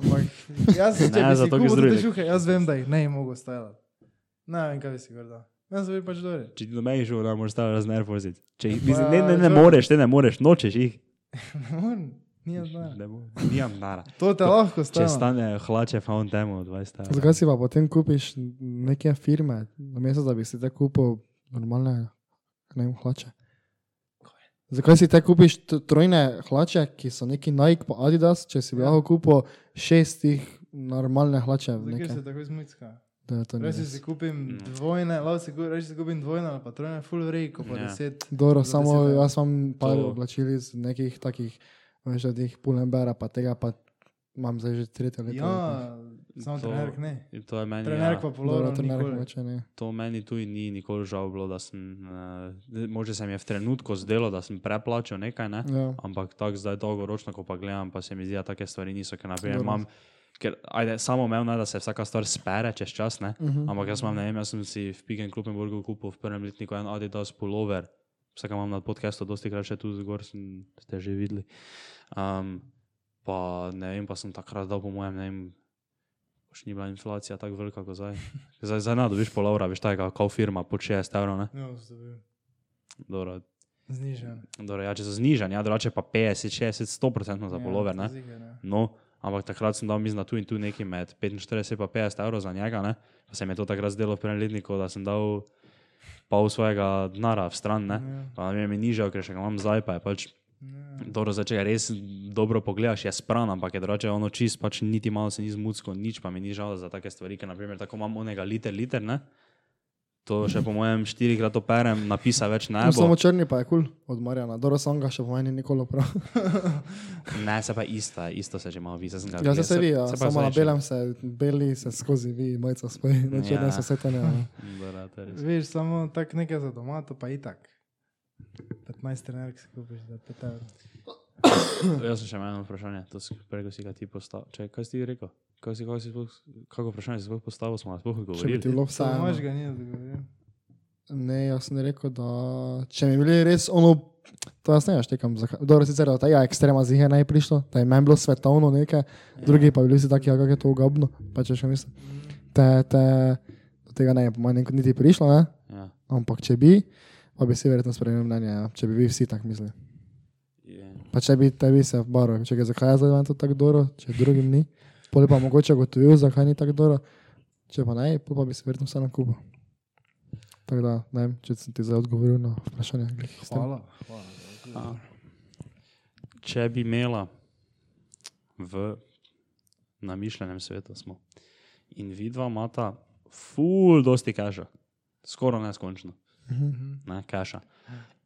S3: Ampak jaz sem
S1: Ne, zato, ker so drugi rekli.
S3: šuhe, jaz vem, da jih ne bi mogel stajati. Ne vem, kaj bi si gorda. Meni so bili pač dobri.
S1: Če ti domeni že ura, moraš staviti razmer forzit. Če jih,
S3: Pa,
S1: mislim, ne, ne, ne
S3: žal.
S1: moreš, te ne moreš, nočeš jih.
S3: Ne morem, ni znano.
S1: Ne moreš. Nijam nara.
S3: To te lahko
S1: Če
S3: stane.
S1: stane hlače, pa on temu 20. evrov.
S2: Zakaj si pa potem kupiš neke firme, namesto da bi si te kupil normalne, ne vem, hlače? Zakaj si te kupiš t- trojne hlače, ki so neki Nike, pa Adidas, če si bi
S3: Ja.
S2: lahko kupil šestih normalne hlače?
S3: Zato, ker
S2: Neke,
S3: se tako izmucka.
S2: da je to ni
S3: Reči
S2: res.
S3: si kupim
S1: No.
S3: dvojne, lahko si ku- reči si kupim dvojne ali pa trojne, full rejko, pa
S1: Ja.
S3: deset.
S2: Dobro,
S3: do
S2: samo
S3: deset-
S2: jaz imam par
S1: To-
S2: oblačil iz nekih takih, veš, od teh pulembera, pa tega pa imam zdaj že tretje leto.
S3: Ja, samo
S1: To-
S3: trenerk ne.
S1: In To je meni.
S3: Trenerk
S1: Ja,
S3: pa
S2: Dobro,
S3: polovica.
S2: to ne reče, ne.
S1: to meni tudi ni nikoli žal bilo, da sem, uh, mogoče se mi je v trenutku zdelo, da sem preplačal nekaj, ne?
S2: Ja.
S1: ampak tako zdaj dolgoročno, ko pa gledam, pa se mi zdi, da take stvari niso, ker naprimer
S2: Dobro.
S1: imam, ker ajde, samo omejeno je, da se vsaka stvar spere čez čas, ne?
S2: Mhm.
S1: Ampak jaz imam, ne vem, jaz sem si v Pigen Klubenburgu kupil v prvem letniku en Adidas pullover, vsak ga imam na podkastu, dosti krat še tu zgor, sem, ste že videli. Um, pa ne vem, pa sem takrat dal, po mojem, ne vem, še ni bila inflacija tako velika kot zdaj. Zdaj, zdaj na dobiš pol evra, veš, tako kot firma, po 60 evrov, ne?
S3: No, zdobil.
S1: Dobro,
S3: Znižen.
S1: dobro, ja, če so znižanja, drugače pa 50, 60, 100% za
S3: Ja,
S1: pullover,
S3: to
S1: ne?
S3: ziger, ja.
S1: No, ampak takrat sem dal mi na tu in tu nekaj med 45 in 50 evrov za njega, ne? pa se mi je to takrat zdelo v prvem letniku, da sem dal pol svojega denarja v stran. Ne?
S3: Ja.
S1: Pa mi je mi nižal, ker še ga imam zdaj, pa je pač
S3: Ja.
S1: dobro, zdaj, če ga res dobro pogledaš, je spran, ampak je drugače ono čist, pač niti malo se ni zmutsko, nič pa mi ni žal za take stvari, ker naprimer tako imam onega liter, liter, ne? To še po mojem štirikrat operem, napisa več ne
S2: No,
S1: bo.
S2: samo črni pa je kul cool, od Marjana, dobro, sam ga še pomeni nikoli prav.
S1: Ne, se pa ista, isto se že malo vidi, zdaj sem ga
S2: Ja, se
S1: gledal.
S2: se vi, ja.
S1: se pa
S2: samo na
S1: zdaj še-
S2: belem se, beli se skozi vi, majica spoji, na črnem
S1: Ja.
S2: se vse to ne. ja.
S1: Dobro, to je res.
S3: Veš, samo tako nekaj za doma, to pa itak. 15 trenerk si kupiš, da te tam.
S1: Jaz sem še imel eno vprašanje, to si prego si ga ti postavil. Če, kaj si ti rekel? Kaj si, kaj si sploh, kako vprašanje si sploh postavil, smo vas sploh
S2: Če bi
S1: odgovorili?
S2: ti bilo
S3: Samo
S2: vse.
S3: ga ni odgovoril.
S2: Ne, jaz sem rekel, da če mi bili res ono, to jaz ne naštekam, dobro, sicer da tega ekstrema zihe naj prišlo, da je meni bilo svetovno
S1: Ja.
S2: nekaj, drugi pa bili vsi taki, ja, kako je to ugabno, pa če še mislim. Te, te, do tega ne, je po mojem, niti prišlo, ne?
S1: Ja.
S2: ampak če bi, pa bi si verjetno spremenil mnenje, ja. če bi vi vsi tako mislili.
S1: Je.
S2: Pa če bi tebi se vbaro, če ga zakaj jaz zadam to tako dobro, če drugim ni, pol pa mogoče gotovil, zakaj ni tako dobro, če pa ne, pol pa bi se verjetno vse nakupil. Tako da, ne vem, če sem ti zdaj odgovoril na vprašanje. glih s tem.
S3: Hvala. hvala.
S1: A. Če bi imela v namišljenem svetu smo in vidva imata ful dosti kaša, skoraj neskončno, ne, kaša.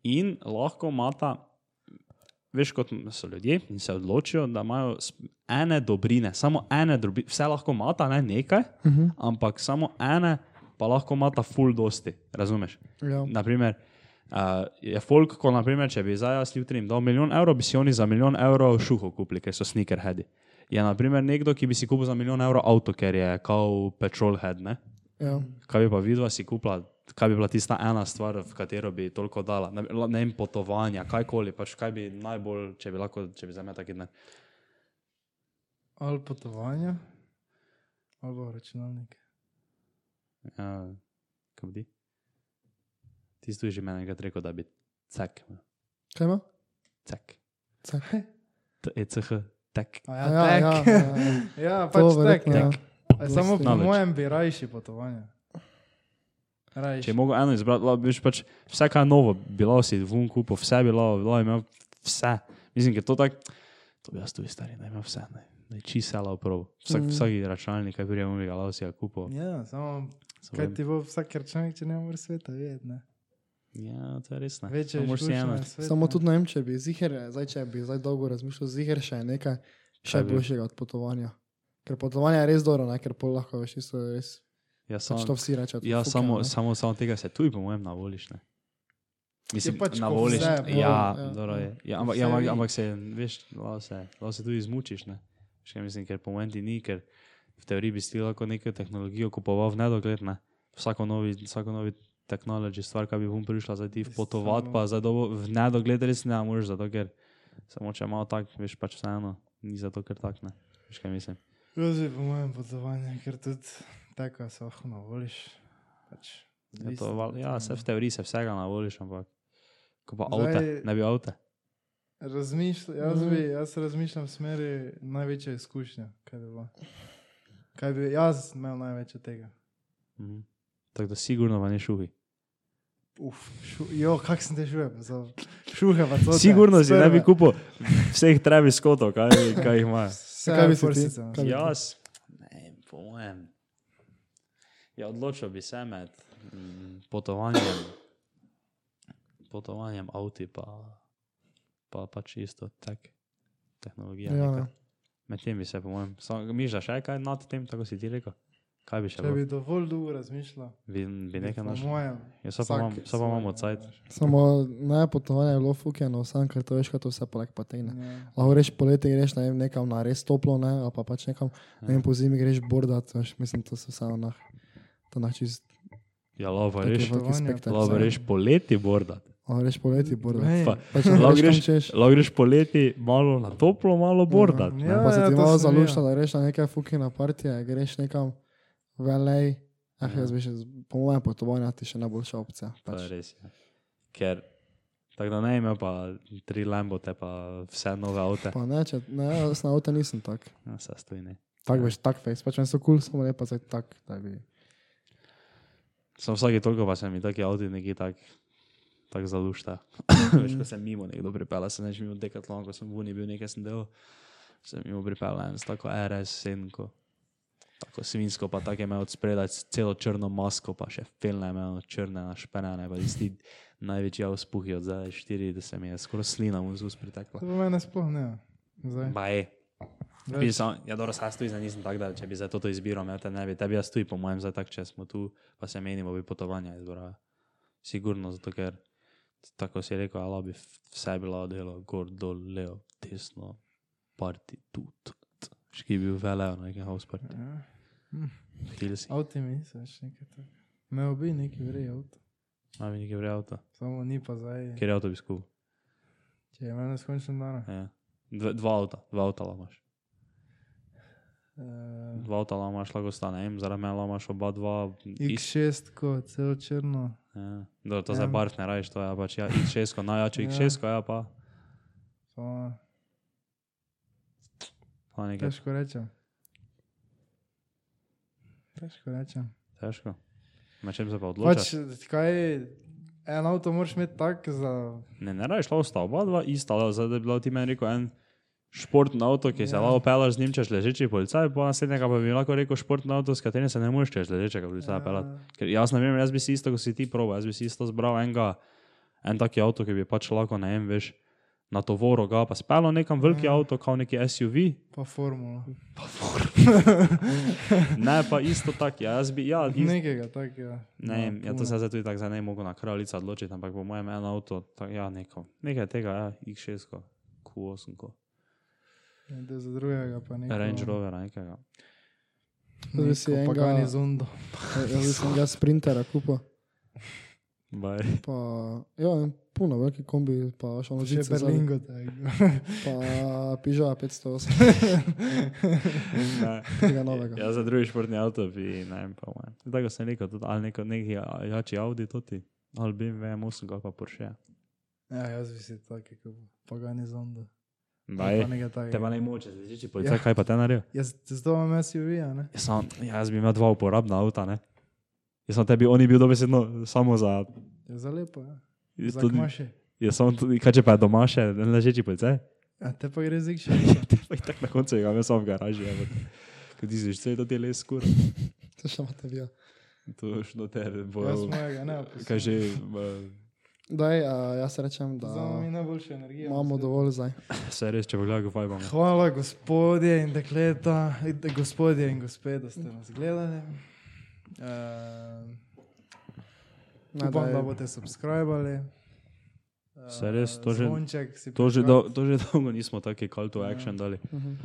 S1: In lahko imata, veš, kot so ljudje in se odločijo, da imajo s- ene dobrine, samo ene dobrine, vse lahko imata, ne nekaj,
S2: Mhm.
S1: ampak samo ene, pa lahko imata ful dosti, razumeš?
S2: Ja.
S1: Naprimer, uh, je folk, ko naprimer, če bi zdaj jaz jutri jim dal milijon evrov, bi si oni za milijon evrov šuho kupili, ker so sneakerheadi. Je naprimer nekdo, ki bi si kupil za milijon evrov avto, ker je kot petrolhead, ne?
S2: Ja.
S1: kaj bi pa vidva si kupila, kaj bi bila tista ena stvar, v katero bi toliko dala, ne, la- ne vem, potovanja, kajkoli, pač kaj bi najbolj, če bi lahko, če bi za me taki dan.
S3: Ali potovanja, ali pa računalnik.
S1: Ja, kaj bi? Tisto je že meni enkrat rekel, da bi cek,
S2: Kaj ima?
S1: cek,
S2: Cak.
S1: T- ECH, tek.
S3: A
S2: Ja, ja, ja,
S3: tak.
S2: ja, ja.
S3: ja, pač
S2: To
S3: tak.
S2: verjetno,
S3: Ja.
S2: ja.
S3: A Samo po
S1: Knowledge.
S3: mojem bi rajši potovanja. Rajši.
S1: Če mogo eno izbrati, lahko bi pač vse kaj novo, bilo si vun kupo, vse bilo, bilo imel vse. Mislim, da je to tako, to bi jaz tudi stari, da imel vse. Ne. da je čist selo prav. Vsak, mm.
S3: Mhm.
S1: Vsak računalnik, ki je umrl, Galaxija kupo.
S3: Ja, samo
S1: Samo
S3: kaj
S1: vem,
S3: ti bo vsak računalnik, če ne moreš sveta vedeti. ne?
S1: Ja, to je res ne.
S3: Večja
S1: Samo moraš si
S3: izkušnja
S1: eno.
S3: na svetu,
S2: Samo
S3: ne.
S2: tudi ne vem, če bi ziger, zdaj, če bi zdaj dolgo razmišljal, ziger še je nekaj še
S1: Kaj bi?
S2: boljšega od potovanja. Ker potovanje je res dobro, ne? ker pol lahko veš, isto je res.
S1: Ja,
S2: Pač to
S1: samo,
S2: vsi rečejo.
S1: ja,
S2: fuck,
S1: samo,
S2: ne.
S1: samo, samo tega se tuj, po mojem, navoliš. Ne? Mislim,
S3: pač ko
S1: navoliš.
S3: vse
S1: Vse,
S3: bolj,
S1: ja,
S2: ja.
S1: dobro je. Ja,
S3: Ko
S1: ampak,
S3: vse
S1: ja, ampak,
S3: vi.
S1: ampak se, veš, lahko se, lahko se tudi izmučiš. Ne? Veš, kaj mislim, ker po mojem ti ni, ker v teoriji bi si ti lahko neko tehnologijo kupoval v nedogled. Ne? Vsako novi, vsako novi tehnologi stvar, ki bi vum prišla, zdaj ti
S3: Ti
S1: potovati,
S3: samo-
S1: pa zdaj dobo, v nedogled res ne moreš, zato ker samo če malo tak, veš pač vseeno, ni zato ker tak ne. Veš kaj mislim.
S3: Jaz bi po mojem potovanju, ker tudi tako se lahko navoliš. Pač,
S1: Ja, to,
S3: odvisno,
S1: val, ja,
S3: ne.
S1: se v teoriji se vsega navoliš, ampak ko pa
S3: Zdaj-
S1: avto, ne bi avto.
S3: Razmišlj, jaz, bi,
S1: Mhm.
S3: jaz razmišljam v smeri največje izkušnje, kaj bi bilo. Kaj bi jaz imel največ od tega?
S1: Mhm. Tako da sigurno pa ne šuhi.
S3: Uf, šu, jo, kak sem te šuhe, za šuhe pa to.
S1: Sigurno si ne bi kupil vseh trevi skotov, kaj, kaj jih imaš.
S3: Vse,
S2: Kaj
S3: no. kaj
S2: bi
S3: bi
S2: si ti?
S3: forsica.
S2: Kaj bi-
S1: Jaz, ne vem, po mojem. Ja, odločil bi se med mm, potovanjem, potovanjem avti, pa, pa pa čisto tek, tehnologija.
S2: Ja,
S1: neka.
S2: ne.
S1: Med tem bi se, po mojem, samo mišlja še kaj nad tem, tako si ti rekel. Kaj bi še
S3: Če
S1: bilo?
S3: bi dovolj dolgo razmišljal,
S1: Bi, bi nekaj
S3: po
S1: našel.
S3: mojem.
S1: Ja, saj pa imam-
S3: vsak no, pač,
S1: saj pa imam
S3: svoje,
S1: odcajt.
S3: veš.
S2: Samo ne potovanje je bilo fukeno, sam ker to veš, kaj to vse poleg patejne.
S3: Ja.
S2: Lahko reš poleti greš ne vem, nekam na res toplo, ne, ali pa pač nekam, ne vem, po zimi greš bordat, veš, mislim, to se vseeno nah, to nah čist,
S1: Ja, lava
S2: Tako je
S1: reš,
S2: pa- veliki
S3: Potovanje,
S2: spektakel.
S1: lava
S2: Dobro,
S1: reš poleti, borda.
S2: lahko reš poleti bordat.
S3: Ej,
S1: Pa-
S2: Pač ne
S1: Lahko
S2: greš tam
S1: greš,
S2: češ.
S1: lahko greš poleti malo na toplo, malo bordat.
S3: Ja,
S1: ne.
S2: Ja, pa se
S3: ja,
S2: ti
S3: to
S2: malo
S3: sem videl.
S2: zalušta, da greš na neke fukina partije, greš nekam velej. Ah, jaz bi še, z- po mojem potovanju, ti še najboljša opcija.
S1: To je
S2: Pač.
S1: res. Ja. Ker tako da ne imel pa tri lambote, pa vse nove avte.
S2: Pa ne, če, ne, jaz na avto nisem tak.
S1: Ja, se stojni.
S2: Tak veš, tak fejs, pač meni so kul, cool, samo ne pa zdaj tak, da bi.
S1: Sem vsake toliko pa se mi taki avti neki tak, tak zalušta. Veš, ko sem mimo nekdo pripeljal, sem neč mimo dekatlon, ko sem vuni bil nekaj sem delal, sem mimo pripeljal en s tako RS-7. Tako svinsko, pa tako je imel spredaj s celo črno masko, pa še filme imel črne, našpenane, pa tisti največji avspuhi od zdaj 40, mi je skoraj slina mu zus pritekla.
S3: To po mene sploh ne. Zdaj.
S1: Ba je.
S3: Več.
S1: Bi Sam, ja, dobro, saj tudi zdaj nisem tak dal, če bi za ja, to izbiro imel, te ne bi. Tebi jaz tudi, po mojem, zdaj tak, če smo tu, pa se menimo, bi potovanja izbrala. Sigurno, zato ker, tako si rekel, ali bi v- vse bilo delo, gor, dol, levo, desno, parti, tu, tu, tu. Ški bi bil veleo, nekaj no, house party.
S3: Ja.
S1: Hteli si.
S3: Avti mi misliš, nekaj tako. Me obi neki vrej avto,
S1: A mi nekaj vreo avto.
S3: samo ni pa zdaj.
S1: Ker je avto bi skupil.
S3: Če je meni neskončen dan.
S1: Ja. Dve- Dva avta, dva avta lahko imaš.
S3: Uh,
S1: Dva avta lahko imaš, lahko sta, ne vem, zaradi mene lahko imaš oba dva. Iz,
S3: X6, ko celo črno.
S1: Ja, dobro, to za
S3: Ja.
S1: barf ne rajiš, to je pač ja, X6, najjače
S3: Ja.
S1: X6, ja pa,
S3: Samo
S1: pa nekaj
S3: Težko rečem. Težko rečem.
S1: težko. Na čem se pa odločiš?
S3: Pač, kaj, en avto moraš imeti tak za...
S1: Ne, ne rajiš, lahko sta oba dva ista, ali zdaj da bi bilo ti meni rekel en športni avto, ki se
S3: Ja.
S1: lahko pelaš z njim, češ ležeči policaj, pa naslednjega pa bi lahko rekel športni avto, s katerim se ne moreš češ ležečega
S3: Ja.
S1: policaja pelati. Ker jaz ne vem, jaz bi si isto, kot si ti proval, jaz bi si isto zbral enega, en taki avto, ki bi pač lahko, ne vem, veš, na tovoro ga pa spelo nekam veliki
S3: Ja.
S1: avto, kot neki SUV,
S3: Pa formula.
S1: ne pa isto tak, ja, jaz bi, ja, isto.
S3: Nekega takega.
S1: Ne, vem, ja, to se zdaj tudi tako zdaj ne mogo na kraju lica odločiti, ampak po mojem eno avto, tak, ja, neko, nekaj tega, ja, X6, -ko, Q8, -ko,
S3: Nekdo za drugega pa nekaj.
S1: Range Rover, nekega.
S2: Zdaj si
S3: Pa
S2: enega-
S3: gani zundo.
S2: Ja, Jaz sem ga sprintera kupo,
S1: Baj.
S2: pa ja, en puno, veliki kombi, pa še ono
S3: Že
S2: žice, zadaj,
S3: Berlingo tako.
S2: pa piža 508,
S1: Ne.
S2: tega novega.
S1: Ja, za drugi športni avto bi, ne vem, po mojem. Tako kot sem rekel, tudi, ali neko, neki a, jači Audi, tudi, ali BMW M8, ali pa Porsche.
S3: Ja, jaz bi si taki kupil. Pa gani zundo.
S1: Baj.
S3: Pa nekaj
S1: Te pa
S3: takega.
S1: ne moče, zdaj če policaj, ja.
S3: Ja.
S1: kaj pa te naredi?
S3: Jaz z to imam SUV, a ne?
S1: Jaz, sam, jaz bi imel dva uporabna avta, ne. Jaz sem tebi, oni bil dobesedno samo za...
S3: Je za lepo, ja. Za
S1: Tudi, ja,
S3: kmaše.
S1: jaz sem tudi, kaj če pa je doma še, ležeči policaj?
S3: A te pa gre zik še nekaj.
S1: Tako na koncu ga imam sam v garaži, ja, ampak kot ti zviš, vse to delo je skurno.
S2: To še imate vi.
S1: To je šlo tebe,
S3: Jaz
S1: bojo.
S3: mojega ne
S1: Kaj
S3: opisujem.
S1: že, eh,
S2: Daj, uh, jaz rečem, da
S3: Za nami najboljša energija. na
S2: imamo
S3: svetu.
S2: dovolj zdaj.
S1: se res, če pogledaj, kaj imamo.
S3: Hvala, gospodje in dekleta, eh, gospodje in gospe, da ste nas gledali. Uh,
S2: Ne,
S3: upam, da
S2: daj.
S3: boste subskrbali.
S1: Saj res, to že-
S3: Zvonček si
S1: To že,
S3: prižgal.
S1: dol- to že dolgo nismo taki call to action dali.
S2: Mhm.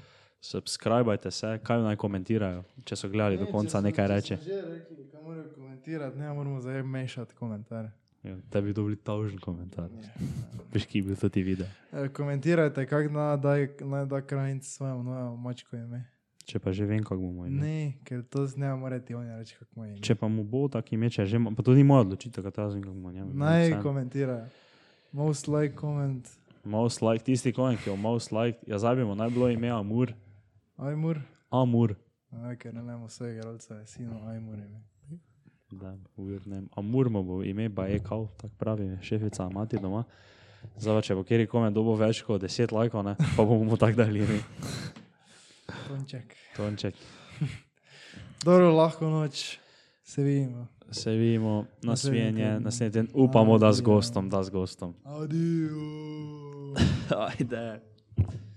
S1: Subskrbajte se, kaj naj komentirajo, če so gledali do
S3: Ne,
S1: konca
S3: če so-
S1: nekaj
S3: če
S1: reče.
S3: so Že rekli, kaj morajo komentirati, ne moramo zdaj mešati komentarje.
S1: Ja, Tebi dobili tavžen komentar. Veš, ki je bil to ti video.
S3: Eh, Komentirajte, kako naj da, naj da krajnic svojemu novemu mačku ime.
S1: Če pa že vem, kako bomo imeli.
S3: Ne, ker to z njega morate oni reči, kako mu je ime.
S1: Če pa mu bo tako ime, če že, ima- pa to ni moja odločitev, kaj jaz vem, kako bomo imeli.
S3: Naj komentirajo. Most like comment,
S1: Most like, tisti konj, ki je most like, ja zabijemo, naj bilo ime Amur,
S3: ajmur.
S1: Amur,
S3: Ja, ker ne vemo vsega igralca, je sino ajmur ime.
S1: da uvirnem, Amur mu bo ime, pa je kao, tako pravi šefica, mati doma. Zdaj, če bo kjer kome dobo več kot 10 lajkov, ne, pa bomo mu tako dali ime.
S3: Tonček.
S1: Tonček.
S3: Dobro, lahko noč, se vidimo.
S1: Se vidimo,
S3: Naslednji
S1: nasvijenje,
S3: teden. ja.
S1: naslednji teden, upamo, da z
S3: Adijo.
S1: gostom, da z gostom.
S3: Adijo.
S1: Ajde.